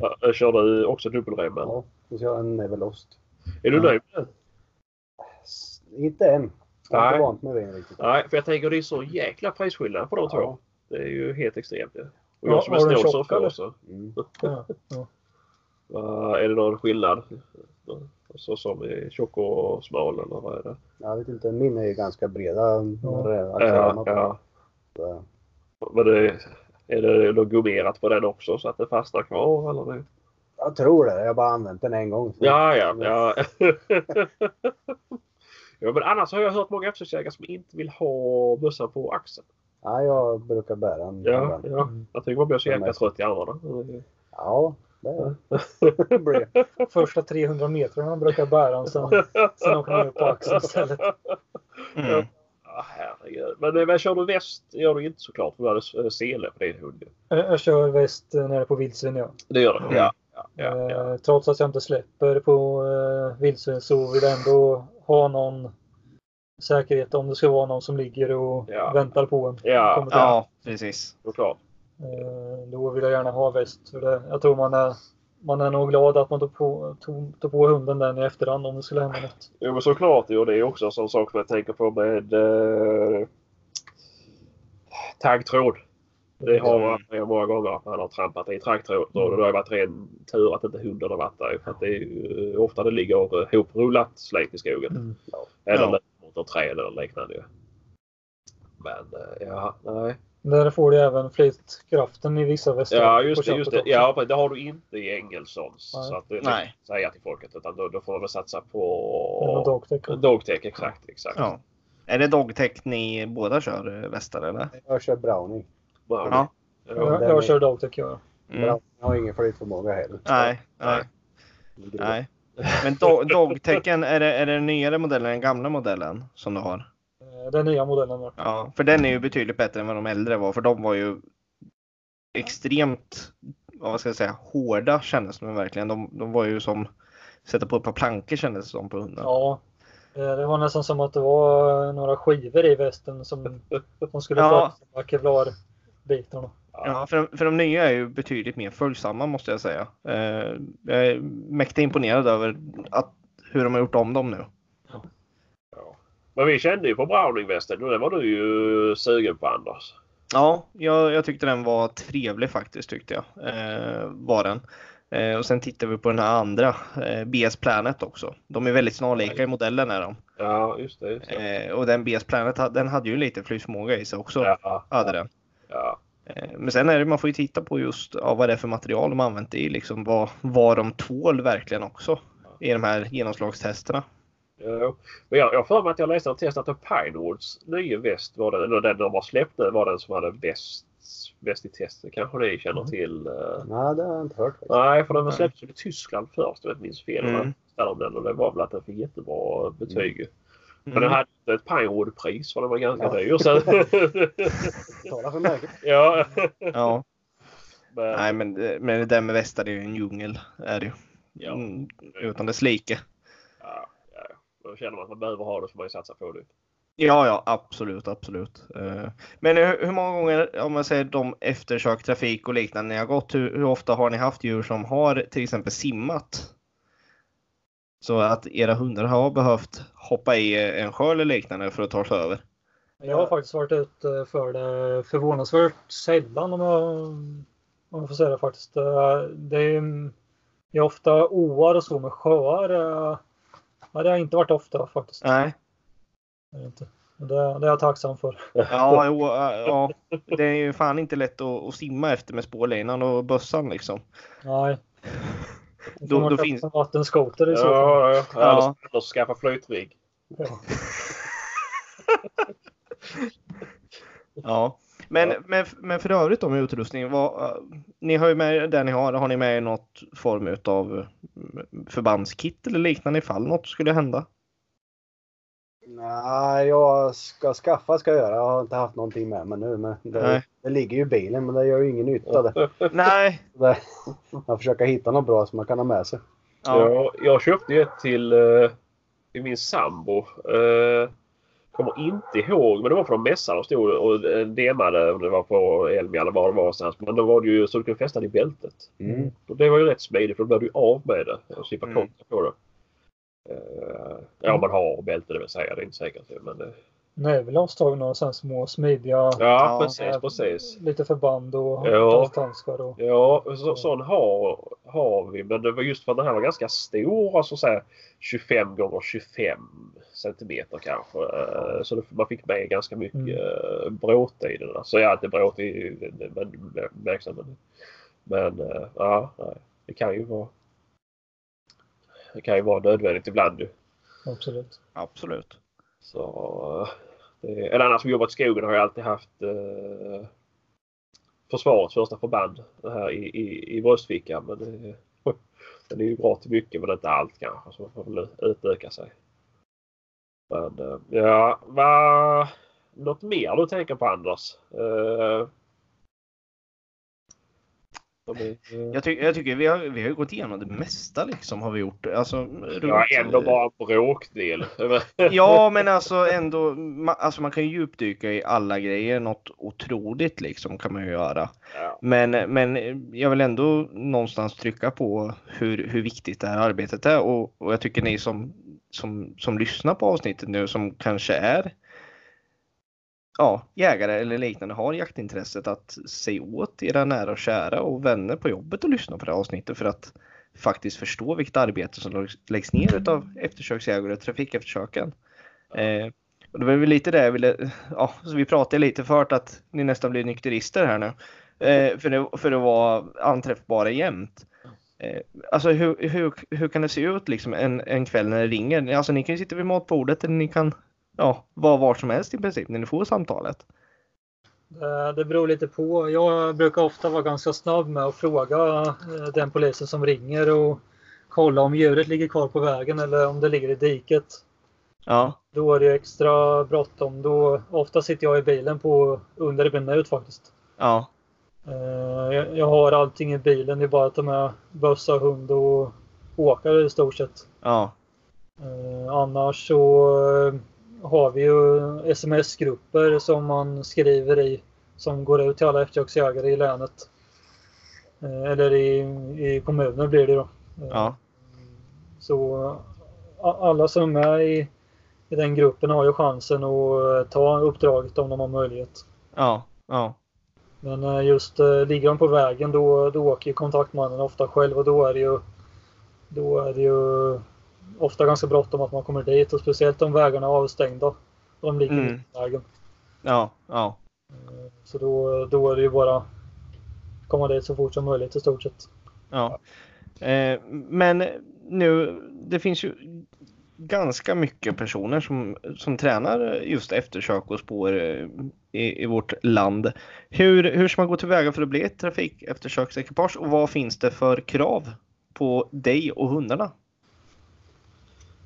ja. Kör du också dubbelremmen? Ja, så kör jag en Nevelost. Är du Ja. nöjd med den? S- Inte än. Jag är Nej. inte vant med den riktigt. Nej, för jag tänker det är så jäkla prisskillnad på de två. Det är ju helt extremt ju. Och jag Ja, som är har du en snålsurfare tjockare? också. Mm. Ja, ja. Vad- är det någon skillnad? Så som i tjock och smal eller vad är det? Jag vet inte, min är ju ganska breda. Alltså, Ja, Ja, ja. Så, Men det, är det något gummerat på den också så att det fastnar kvar eller? Det? Jag tror det. Jag har bara använt den en gång. Ja, ja, ja. ja, men annars har jag hört många eftersökare som inte vill ha bössan på axeln. Ja, jag brukar bära den. Ja, ibland. ja. Jag tycker man blir så Ja, jäkla men- trött i armarna. ja det blir det. Första 300 metrarna brukar jag bära den, sen, sen åker man upp på axeln istället. Mm. Ja, herregud. Men, eh, men kör du väst gör du inte såklart för du hade eh, sele på din hund. ju. Jag jag kör väst eh, nere på vildsvin ja. Det gör du? Ja. ja. Ja, ja. Eh, Trots att jag inte släpper på eh, vildsvin så vill jag ändå ha någon säkerhet om det ska vara någon som ligger och Ja. väntar på en. Ja, Kommer till. Ja, precis. såklart. Eh, Då vill jag gärna ha väst. För det, jag tror man är, man är nog glad att man tog på, tog, tog på hunden den i efterhand om det skulle hända något. Jo, men såklart. Jo, det är också en sån sak som jag tänker på med eh, taggtråd. Det har man varit med många gånger att man har trampat i taggtråd. Och då har det varit ren tur att inte hunden har varit där. För att det är ju eh, ofta det ligger eh, hoprullat släkt i skogen. Mm. Eller Ja. mot något träd eller liknande. ju. Men eh, ja, nej. Där får du även flytkraften i vissa västar. Ja, på just det. köpet Just det. också. Ja, men det har du inte i Engelsons. Nej. Så att det är Nej. lätt att säga till folket. Utan då, då får man väl satsa Eller något på dagtäck. dogtech. Exakt, exakt. Ja. Är det dogtech ni båda kör eh, västar eller? Jag kör Browning. Wow. Ja. Jag, den är- jag kör dagtäck jag. Mm. Browning har ingen flytförmåga heller. Nej, nej, nej. Men do- dogtechen, är det, är det den nyare modellen än den gamla modellen som du har? Eh, Den nya modellen. då. Ja, för den är ju betydligt bättre än vad de äldre var, för de var ju extremt, vad ska jag säga, hårda kändes det verkligen. De, de var ju som, sätta på ett par plankor kändes det som på hunden. Ja. Eh, Det var nästan som att det var några skivor i västen som, som skulle Ja. ja. följa kevlarbitarna. Ja, för, de- för de nya är ju betydligt mer följsamma måste jag säga. Eh, jag är mäkta imponerad över att, hur de har gjort om dem nu. Men vi kände ju på Browning-västen. Den var du ju sugen på Anders. Ja, jag, jag tyckte den var trevlig faktiskt tyckte jag. Eh, var den. Eh, och sen tittar vi på den här andra, eh, BS Planet också. De är väldigt snarlika i modellen är de. Ja, just det. Just det. Eh, och den BS Planet ha- den hade ju lite flygsmåga i sig också. Ja, Hade den. ja, Eh, men sen är det, man får ju titta på just ja, vad det är för material de har använt i. Liksom vad, vad de tål verkligen också. I de här genomslagstesterna. ja. Men jag jag har för mig att jag läste en test att Pinewoods nya väst var den, eller den de har släppt nu, var den som hade bäst, bäst i testet. Kanske ni känner Mm. till? eh, Nej, det har jag inte hört. faktiskt. Nej, för den Nej. släpptes ju i Tyskland först om jag inte minns fel. Mm. Mm. Om den, och det var väl att den fick jättebra betyg. Men den Mm. hade inte ett Pinewood-pris för den var ganska Ja. dyr. Så... Tala för märket. ja. Mm, Ja, Men, nej men, det- men det där med västar är ju en djungel. Är det ju. Ja. Mm, utan dess like. Ja, ja. Då känner man att man behöver ha det så får man ju satsa på det. Ja, ja, absolut, absolut. Eh, Men hur, hur många gånger, om man säger de eftersök, trafik och liknande ni har gått, hur, hur ofta har ni haft djur som har till exempel simmat? Så att era hundar har behövt hoppa i eh, en sjö eller liknande för att ta sig över? Jag har faktiskt varit ute för det förvånansvärt sällan om jag, om jag får säga det faktiskt. Eh, Det är, det är ofta åar och så med sjöar. eh, Ja, det har inte varit ofta faktiskt. Nej. Det är det inte. Det, det är jag tacksam för. Ja, jo, eh, ja. det är ju fan inte lätt att, att simma efter med spårlinan och bössan liksom. Nej. Då- får man då köpa finns- en vattenskoter i så fall. Ja, ja. Ja. ja. Eller skaffa flytrigg. Ja. Men, Ja. men, men för övrigt om utrustning, vad, eh, ni har ju med det ni har, har ni med er något form av förbandskit eller liknande ifall något skulle hända? Nej, jag ska skaffa ska jag göra. Jag har inte haft någonting med mig nu. Men Nej. det, det ligger ju i bilen men det gör ju ingen nytta. Det. Nej. Så det- Man försöker hitta något bra som man kan ha med sig. Ja. Jag, jag köpte ju ett till, eh, till min sambo. Eh, kommer inte ihåg, men det var från mässan de stod och eh, demade om det var på Elmia eller var det var någonstans. Men då var det ju så du kunde fästa det i bältet. Mm. Och det var ju rätt smidigt för då blev du ju av med det och slippa Mm. kolla på det. Eh, ja, om man har bälte det vill säga. Det är inte säkert. Men, eh, Det är väl avstagna några sådana här små smidiga eh, ja, Ja. precis, precis. lite förband och Ja. halshandskar. Och... Ja, så, sån har, har vi. Men det var just för att den här var ganska stor. Alltså så här 25 gånger 25 centimeter kanske. Eh, Så det, man fick med ganska mycket mm. bråte i den. Alltså ja, inte bråte i men, men, men, men, men eh, ja, nej. det kan ju vara. Det kan ju vara nödvändigt ibland ju. Absolut. Absolut. Så, eh, det, eller annars som jobbat i skogen har jag alltid haft eh, försvarets första förband det här i, i, i bröstfickan. Men det, den är ju bra till mycket men inte allt kanske. Så man får väl utöka sig. Men eh, ja, vad... Något mer du tänker på Anders? Eh, Jag, ty jag tycker vi har, vi har ju gått igenom det mesta liksom har vi gjort. Alltså, Ja, runt- ändå bara en bråkdel. Ja, men alltså ändå. Man, alltså man kan ju djupdyka i alla grejer. Något otroligt liksom kan man ju göra. Ja. Men, men jag vill ändå någonstans trycka på hur, hur viktigt det här arbetet är. Och, och jag tycker ni som, som, som lyssnar på avsnittet nu som kanske är ja, jägare eller liknande har jaktintresset att se åt era nära och kära och vänner på jobbet och lyssna på det här avsnittet för att faktiskt förstå vilket arbete som läggs- läggs ner av eftersöksjägare och trafikeftersöken. Eh, och det var väl lite det jag ville, ja, så vi pratade lite förut att ni nästan blir nykterister här nu. Eh, för, det, för att vara anträffbara jämt. Eh, alltså hur, hur, hur kan det se ut liksom en, en kväll när det ringer? Alltså ni kan ju sitta vid matbordet eller ni kan ja, vara var som helst i princip när ni får samtalet. Eh, Det beror lite på. Jag brukar ofta vara ganska snabb med att fråga eh, den polisen som ringer och kolla om djuret ligger kvar på vägen eller om det ligger i diket. Ja, Då är det extra bråttom. Då, ofta sitter jag i bilen på under en minut faktiskt. ja, Eh, Jag, jag har allting i bilen. Det är bara att ta med bössa, hund och åkare i stort sett. ja, Eh, annars så eh, har vi ju sms-grupper som man skriver i som går ut till alla eftersöksjägare i länet. Eh, eller i, i kommunen blir det då. Eh, ja, Så eh, a- alla som är med i, i den gruppen har ju chansen att eh, ta uppdraget om de har möjlighet. ja, ja, Men eh, just eh, ligger de på vägen då, då åker ju kontaktmannen ofta själv och då är det ju, då är det ju ofta ganska bråttom att man kommer dit och speciellt om vägarna är avstängda. De ligger Mm. mitt i vägen. ja, ja. Så då, då är det ju bara komma dit så fort som möjligt i stort sett. Ja. Eh, men nu, det finns ju ganska mycket personer som, som tränar just eftersök och spår eh, i, i vårt land. Hur, hur ska man gå tillväga för att bli ett trafikeftersöksekipage och vad finns det för krav på dig och hundarna?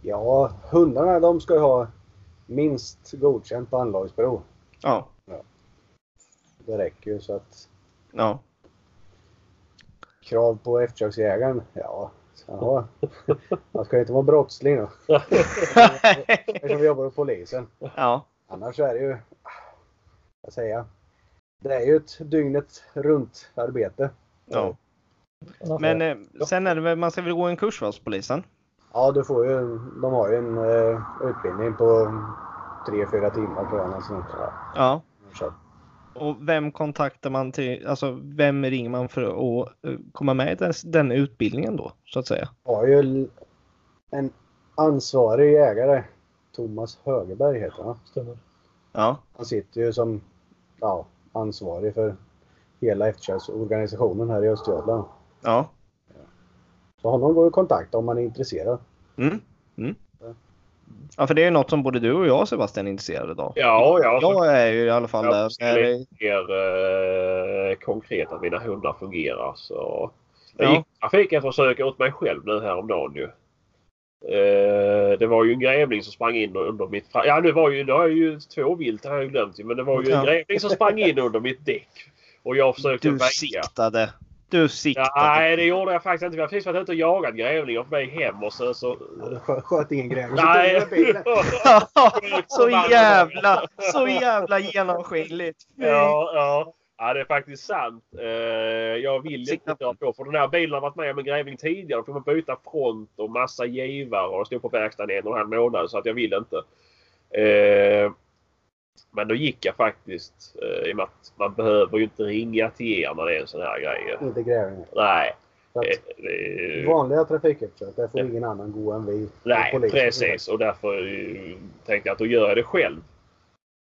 Ja, hundarna de ska ju ha minst godkänt på anlagsprov. Ja, Det räcker ju så att ja, krav på eftersöksjägaren, ja. ja. Man ska ju inte vara brottsling då. Eftersom vi jobbar på polisen. ja, Annars är det ju, vad säger jag? Det är ju ett dygnet runt arbete. ja. Men eh, sen är det väl, man ska väl gå en kurs va, hos polisen? Ja, du får ju, de har ju en eh, utbildning på 3-4 timmar tror jag. något sånt. Ja, Ja. så. Och vem kontaktar man till, alltså vem ringer man för att eh, komma med i den, den utbildningen då, så att säga? har ju l- en ansvarig jägare, Thomas Högerberg heter han. Stämmer. Ja, Han sitter ju som ja, ansvarig för hela eftersöksorganisationen här i Östergötland. ja. Så honom går ju kontakt om man är intresserad. Mm. Mm. Ja, för det är ju något som både du och jag Sebastian är intresserade av. Ja, ja. Så Jag är ju i alla fall Ja, där. det är Är, mer eh, konkret att mina hundar fungerar. Så. Jag Ja. gick trafikeftersök åt mig själv nu häromdagen ju. Eh, det var ju en grävling som sprang in under mitt... fra- Ja, nu var ju, det är ju två vilt har jag ju glömt ju, Men det var ju Ja. en grävling som sprang in under mitt däck. Och jag försökte du väja. siktade. Du siktade. Nej, det gjorde jag faktiskt inte. Jag har precis varit ute och jagat grävlingar på väg hem och sen så... Sköt ingen grävling. Nej! så jävla, så jävla genomskinligt. Fy. Ja, ja. ja, det är faktiskt sant. Eh, jag vill inte Sikta på. dra på. För den här bilen har varit med om en grävling tidigare. Då får man byta front och massa givare. Och stod på verkstaden i en och en halv månad. Så att jag vill inte. Eh, men då gick jag faktiskt. Eh, I och med att man behöver ju inte ringa till er när det är en sån här grej. Inte grävlingar. Nej. Så att eh, eh, Vanliga trafikeftersök, där får ingen annan gå än vi. Nej, polisen. precis. Och därför eh, tänkte jag att då gör jag det själv.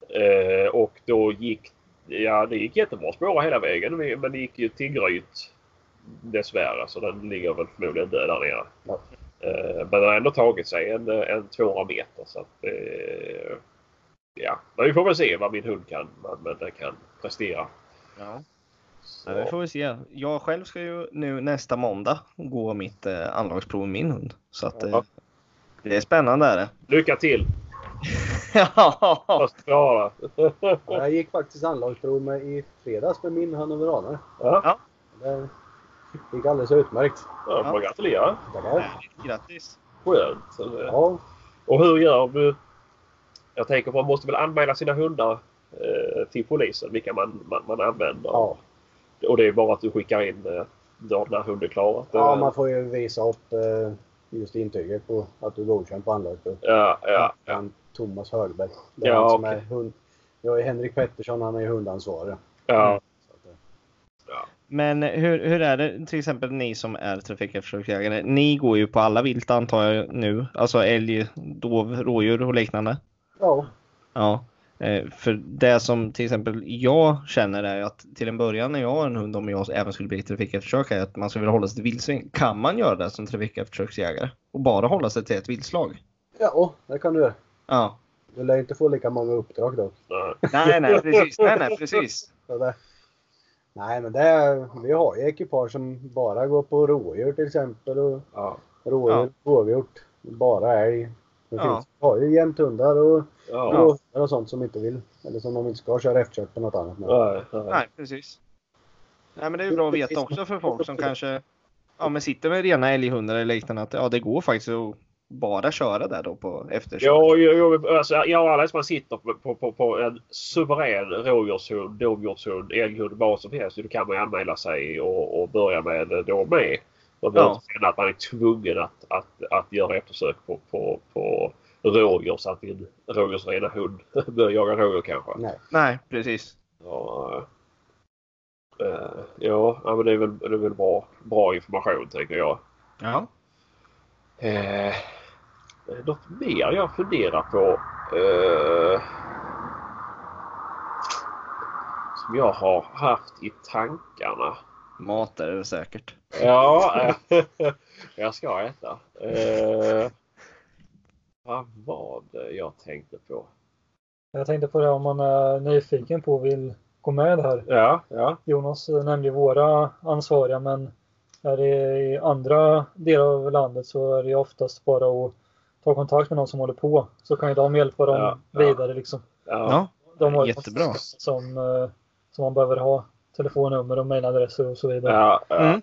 Eh, och då gick ja, det gick jättebra att spåra hela vägen. men- Men det gick ju till Gryt dessvärre. Så den ligger väl förmodligen död där nere. Ja. Eh, men den har ändå tagit sig en, eh, en 200 meter. Så att, eh, ja. Men vi får väl se vad min hund kan, vad vad den kan prestera. Ja. Så, Ja, vi får väl se. Jag själv ska ju nu nästa måndag gå mitt eh, anlagsprov med min hund. Så att, eh, Ja. det är spännande är det. Lycka till! ja, Hoppas du klarar det. Ja, Jag gick faktiskt anlagsprov med i fredags med min hanoveranare. Ja. Där gick alldeles utmärkt. Ja, får man gratulera. Tackar. Grattis! Skönt. Så eh, det- Ja, Och hur gör du? Jag tänker man måste väl anmäla sina hundar eh, till polisen vilka man, man, man använder. ja. Och det är bara att du skickar in eh, du har den här hunden klarat det. ja, man får ju visa upp eh, just intyget på att du är godkänd på anlöpet. ja, ja, ja. Han Thomas Högberg. Det är Ja, han som okej. är hund... Jag är Henrik Pettersson, han är ju hundansvarig. ja. Så att, eh, Men eh, hur, hur är det till exempel ni som är trafikeftersöksjägare? Ni går ju på alla vilt antar jag nu. Alltså älg, dov, rådjur och liknande. Ja, Ja. Eh, För det som till exempel jag känner är ju att till en början när jag har en hund, om jag även skulle bli trafikeftersökare, att man skulle vilja hålla sig till vildsvin. Kan man göra det som trafikeftersöksjägare? Och bara hålla sig till ett viltslag? ja, det kan du göra. Ja. Du lär ju inte få lika många uppdrag dock. ja. Nej, nej, precis. Nej, nej, precis. Så det... Nej, men det är... vi har ju ekipage som bara går på rådjur till exempel. Och ja. rådjur, rådjursort, bara älg. Det Ja. finns, vi har ju jämthundar och ja. rådjur och sånt som inte vill, eller som de inte ska köra efterkört på något annat. med. ja. ja. Nej, precis. Nej, men det är ju bra att veta också för folk som kanske ja, men sitter med rena älghundar eller liknande att ja, det går faktiskt att bara köra där då på efterkör. Jo, jo, jo, alltså, jag och Alex man sitter på, på, på, på en suverän rådjurshund, dovhjortshund, älghund, vad som helst. Då kan man ju anmäla sig och, och börja med det då med. Man behöver Ja. inte känna att man är tvungen att, att, att göra eftersök på, på, på rådjur så att din rådjursrena hund börjar jaga rådjur kanske. Nej. Nej, precis. Ja, eh, eh, ja ja, men det är väl, det är väl bra, bra information tänker jag. Ja. Eh, något mer jag funderar på. Eh, som jag har haft i tankarna. Mat är det säkert. Ja, eh, jag ska äta. Eh, vad var det jag tänkte på? Jag tänkte på det om man är nyfiken på och vill gå med i det här. Ja, ja. Jonas nämnde ju våra ansvariga men är det i andra delar av landet så är det ju oftast bara att ta kontakt med någon som håller på. Så kan ju de hjälpa dem Ja, ja. vidare liksom. ja. Ja, De har ju Jättebra. något Som, eh, som man behöver ha. Telefonnummer och mejladresser och så vidare. ja, ja. Mm.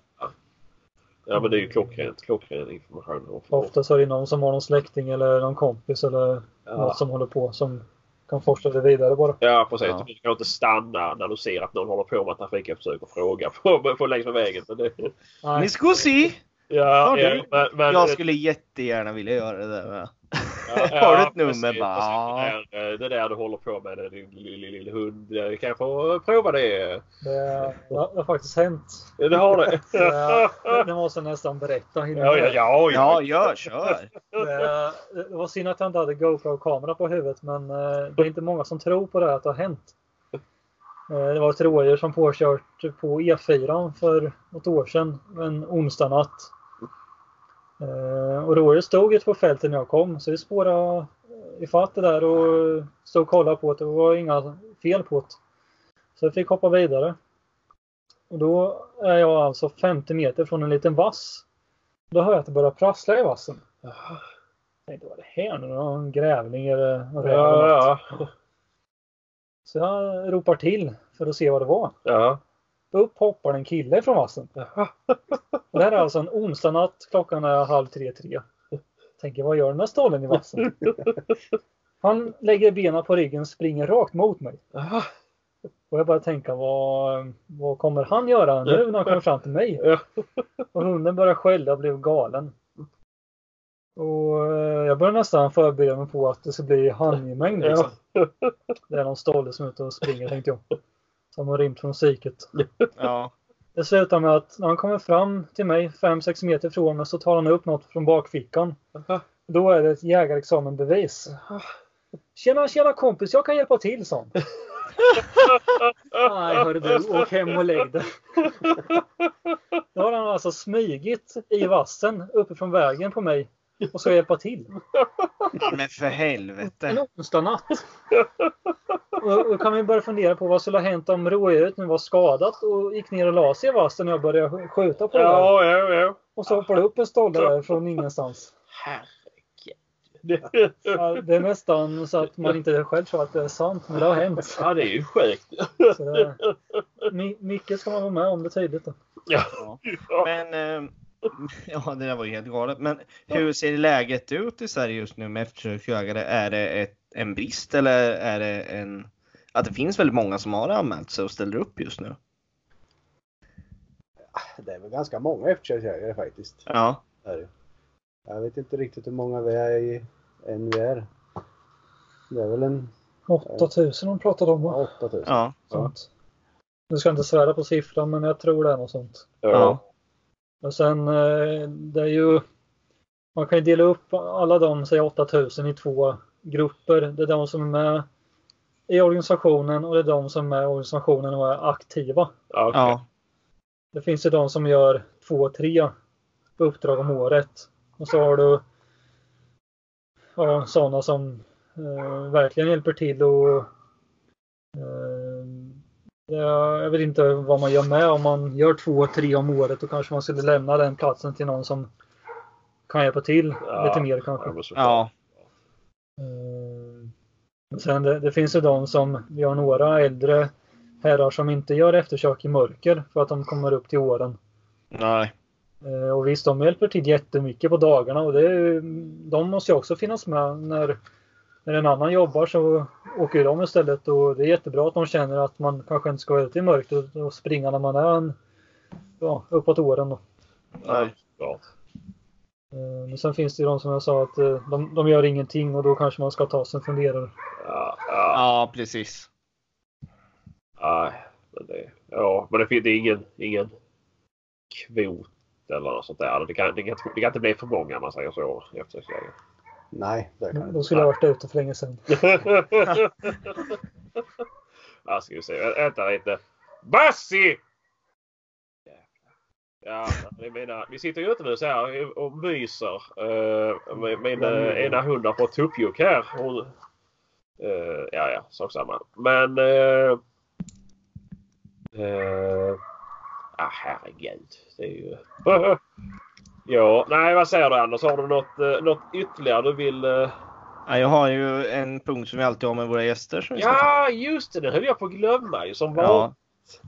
ja men det är ju klockrent, klockren information. Och- och- Ofta så är det någon som har någon släkting eller någon kompis eller ja. något som håller på som kan forsla det vidare bara. Ja precis. Ja. Du kan inte stanna när du ser att någon håller på med trafikeftersök och fråga på, på längs med vägen. Men det, Nej, ni ska se! Ja, Har du- ja, men, men, Jag skulle jättegärna vilja göra det där med. ja, ja, Har du ett precis, nummer bara? Ja. precis. Det där, eh, Det där du håller på med, det, din lilla, lilla hund. eh, Kan jag få prova det? det, det har faktiskt hänt. Ja, Det har du. Det, ja, det måste jag nästan berätta. innan. ja, ja, Ja, gör, kör! Det, det var synd att jag inte hade GoPro-kamera på huvudet men eh, det är inte många som tror på det här att det har hänt. Eh, Det var ett rådjur som påkört på E4 för något år sedan en onsdag natt. Eh, Och rådjuret stod ute på fältet när jag kom så vi spårade ifatt det där och stod och kollade på det. Det var inga fel på det. Så jag fick hoppa vidare. Och då är jag alltså 50 meter från en liten vass. Då hör jag att det börjar prassla i vassen. Jag tänkte, vad är det här nu? Någon grävling eller en räv eller något? Ja, Så jag ropar till för att se vad det var. ja. Upp hoppar en kille från vassen. Ja. Och det här är alltså en onsdagnatt. Klockan är halv tre, tre. Tänker, vad gör den här stollen i vassen? Han lägger benen på ryggen och springer rakt mot mig. Ja. Och jag bara tänka, vad, vad kommer han göra nu när han kommer fram till mig? Ja. Och hunden började skälla och blev galen. Och eh, jag började nästan förbereda mig på att det ska bli handgemäng. Liksom. Det är någon stolle som är ute och springer tänkte jag. Som har rymt från psyket. Ja. Det slutar med att när han kommer fram till mig 5-6 meter från mig så tar han upp något från bakfickan. Aha. Då är det ett jägarexamenbevis. Tjena tjena kompis, jag kan hjälpa till sa han. Nej hörru du, åk hem och lägg dig. Då har han alltså smygit i vassen uppifrån vägen på mig och ska hjälpa till. Men för helvete! En onsdagnatt. Och Då kan vi börja fundera på vad skulle ha hänt om rådjuret nu var skadat och gick ner och la sig i vassen när jag började sk- skjuta på det där. Ja, ja, ja. Och så hoppar det upp en stolle där från ingenstans. Det- Ja, Det är nästan så att man inte själv tror att det är sant, men det har hänt. Ja, det är ju sjukt. Så det är... My- mycket ska man vara med om, det är tydligt. då. Ja. Ja. Ja. Men, eh, ja det där var ju helt galet. Men hur ser läget ut i Sverige just nu med eftersöksjägare? Är det ett, en brist eller är det en... Att det finns väldigt många som har anmält sig och ställer upp just nu. Det är väl ganska många efterkörsjägare faktiskt. Ja. Det är det. Jag vet inte riktigt hur många vi är i NVR. Det är väl en 8000 de pratade om. va? 8000. Ja. Sånt. Nu ska jag inte svära på siffran men jag tror det är något sånt. Ja. Och sen eh, det är ju man kan ju dela upp alla de, säg 8000 i två grupper. Det är de som är med i organisationen och det är de som är med i organisationen och är aktiva. Ja, okej. Ja. Det finns ju de som gör två, tre uppdrag om året. Och så har du ja, sådana som eh, verkligen hjälper till och eh, jag jag vet inte vad man gör med. Om man gör två, tre om året då kanske man skulle lämna den platsen till någon som kan hjälpa till Ja. lite mer kanske. Ja, men såklart. Ja. Eh, Sen det, det finns ju de som, vi har några äldre herrar som inte gör eftersök i mörker för att de kommer upp till åren. Nej. Eh, Och visst, de hjälper till jättemycket på dagarna och det är, ju- de måste ju också finnas med när, när en annan jobbar så åker ju de istället och det är jättebra att de känner att man kanske inte ska ut i mörkret och springa när man är en, ja, uppåt åren. Då. Nej. Ja. Eh, Men sen finns det ju de som jag sa att eh, de, de gör ingenting och då kanske man ska ta sig en funderare. Ja, ja. Ja, precis. Nej, men det, ja, men det finns det är ingen, ingen kvot eller något sånt där. Det kan, det kan, det kan inte bli för många om man säger så. Efter serien. Nej, det kan det De inte. skulle ha varit ute för länge sedan. ja, ska vi se. Vä- Vänta lite. Bassi! Ja, det är mina, vi sitter ju inte nu så här och myser. Eh, min min eh, ena hund har fått tuppjuck här. Hon, eh, ja, ja, sak samma. Men... Uh, ah, herregud. Det är ju... ja, nej, vad säger du Anders? Har du något, uh, något ytterligare du vill... eh, Ja, jag har ju en punkt som vi alltid har med våra gäster. Som vi ska ta. Ja, just det. Den höll jag på att glömma ju som var. ja.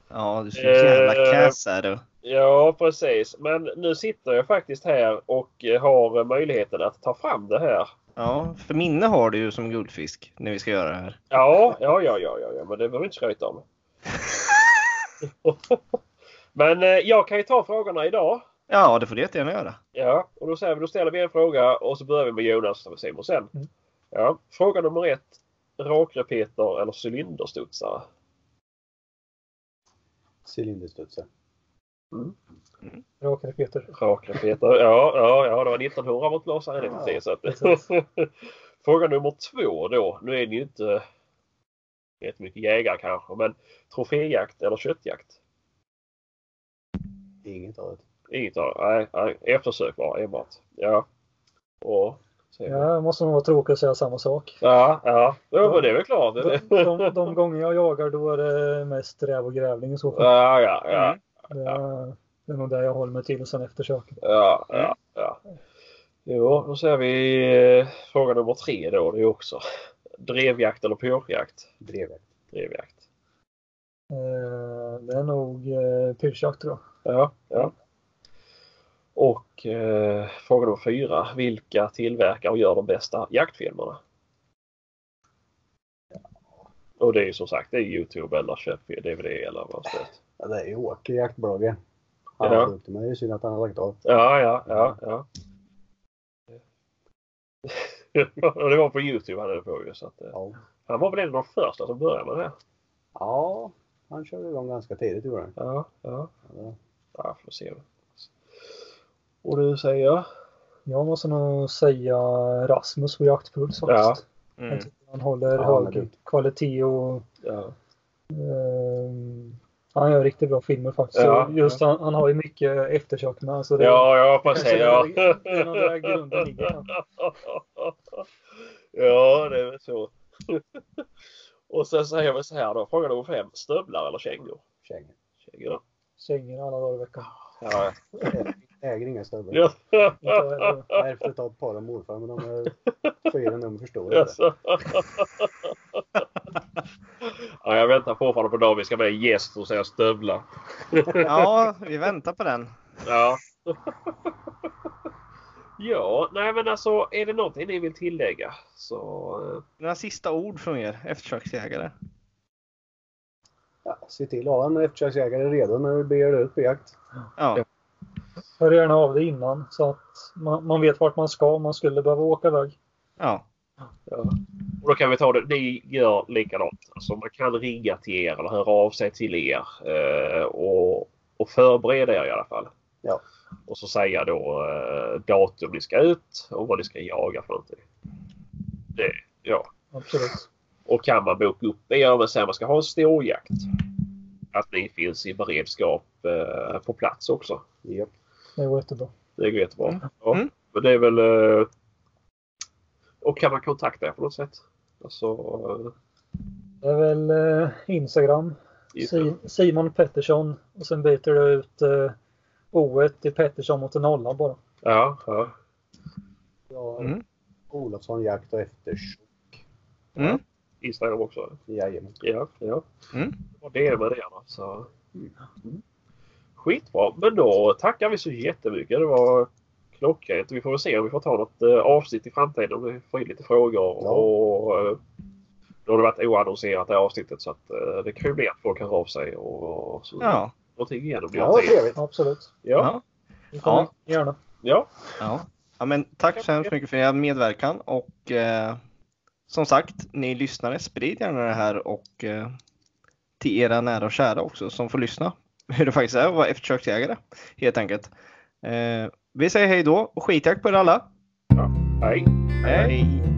Ja, du är så jävla Eh. kass är du. Ja, precis. Men nu sitter jag faktiskt här och eh, har eh, möjligheten att ta fram det här. Ja, för minne har du ju som guldfisk när vi ska göra det här. Ja, ja, ja, ja, ja, ja men det behöver vi inte skryta om. men eh, jag kan ju ta frågorna idag. Ja, det får du jättegärna göra. Ja, och då, säger vi, då ställer vi en fråga och så börjar vi med Jonas och Simon sen. Mm. Ja, fråga nummer ett. Rakrepeter eller cylinderstudsare? Cylinderstudsar. Rakare Peter. Rakrepeter, ja, ja, ja, det var 1900 mot Lars Henriksson. Ja, så att... precis. Fråga nummer två då. Nu är det ju inte jättemycket jägare kanske, men troféjakt eller köttjakt? Inget av det. Inget av nej, nej, eftersök bara enbart. Ja. Och, så- Ja, jag måste nog vara tråkig och säga samma sak. ja, ja. ja, men det är väl klart. De, de, de gånger jag jagar då är det mest räv och grävling i så fall. Ja, ja, ja. Mm. Det är, det är nog det jag håller mig till och sen eftersöken. Ja, Mm. ja, ja. Jo, då ser vi eh, fråga nummer tre då. Det är också drevjakt eller pyrjakt? Drevet. Drevjakt. Eh, Det är nog eh, pyrschjakt tror jag. Ja, ja. Och eh, fråga nummer fyra. Vilka tillverkar och gör de bästa jaktfilmerna? Och det är ju som sagt det är Youtube eller köp DVD eller vad som helst. Ja, det är ju Åke, jaktbloggen. Han Ja. var duktig, men det är ju synd att han har lagt av. Ja, ja, ja, ja. och det var på Youtube han höll på ju. Så att, eh, Ja. Han var väl en av de första som började med det. här. ja, han körde igång ganska tidigt gjorde han. Ja, ja. Ja. Ja, får se. Och du säger? Jag måste nog säga Rasmus på jaktpuls faktiskt. Mm. Jag tycker han håller Ja, han är hög duktig. kvalitet och Ja. eh, han gör riktigt bra filmer faktiskt. Ja, Så just han, han har ju mycket eftersök med. Så det, Ja, ja, precis. kanske Ja. det är- det är nog där grunden ligger kanske. ja, det är väl så. Och sen säger vi så här då. Fråga nummer fem. Stövlar eller kängor? Kängor. Kängor. Kängor alla dagar i veckan. Ja. Äger inga stövlar. ja. Inte jag heller. Jag ärvde ett av par av morfar men de är alltså. fyra nummer för stora. Jaså. ja, jag väntar på honom på dagen. Vi ska med en gäst och säga stövlar. Ja, vi väntar på den. Ja. ja, nej men alltså är det någonting ni vill tillägga så... eh, Några sista ord från er eftersöksjägare. Ja, se till att ha en eftersöksjägare redo när du beger dig ut på jakt. Ja, Hör gärna av dig innan så att man, man vet vart man ska om man skulle behöva åka iväg. ja, Och då kan vi ta det. Ni gör likadant. Alltså man kan ringa till er eller höra av sig till er. eh, Och, och förbereda er i alla fall. Ja. Och så säga då eh, datum ni ska ut och vad ni ska jaga för någonting. Det, ja. Absolut. Och kan man boka upp er med att man ska ha en storjakt. Att ni finns i beredskap eh, på plats också. Japp. Det går jättebra. Det går jättebra. Mm. Ja. Mm. Men det är väl... eh, Och kan man kontakta er på något sätt? Alltså... eh, Det är väl eh, Instagram. just det. Si, Simon Pettersson. Och sen byter du ut eh, O till Pettersson mot en nolla bara. Ja, ja. Ja, Mm. Olofsson jakt och eftersök. Mm. Instagram också. Jajamän. Ja, ja. Mm. Och det är med det då. Så. Mm. Skitbra. Men då tackar vi så jättemycket. Det var klockrent. Vi får väl se om vi får ta något eh, avsnitt i framtiden om vi får in lite frågor. Ja. Och, eh, då har det varit oannonserat det här avsnittet så att eh, det kan ju bli att folk hör av sig och, och så, ja, någonting igenom. Ja, vad trevligt. Absolut. Ja. ja. Det får Ja. man Gärna. ja. ja. ja men tack så hemskt mycket för er medverkan och eh, som sagt, ni lyssnare, sprid gärna det här och eh, till era nära och kära också som får lyssna hur det faktiskt är att vara eftersöksjägare helt enkelt. Eh, vi säger hej då och skitjakt på er alla. Hej. Hej!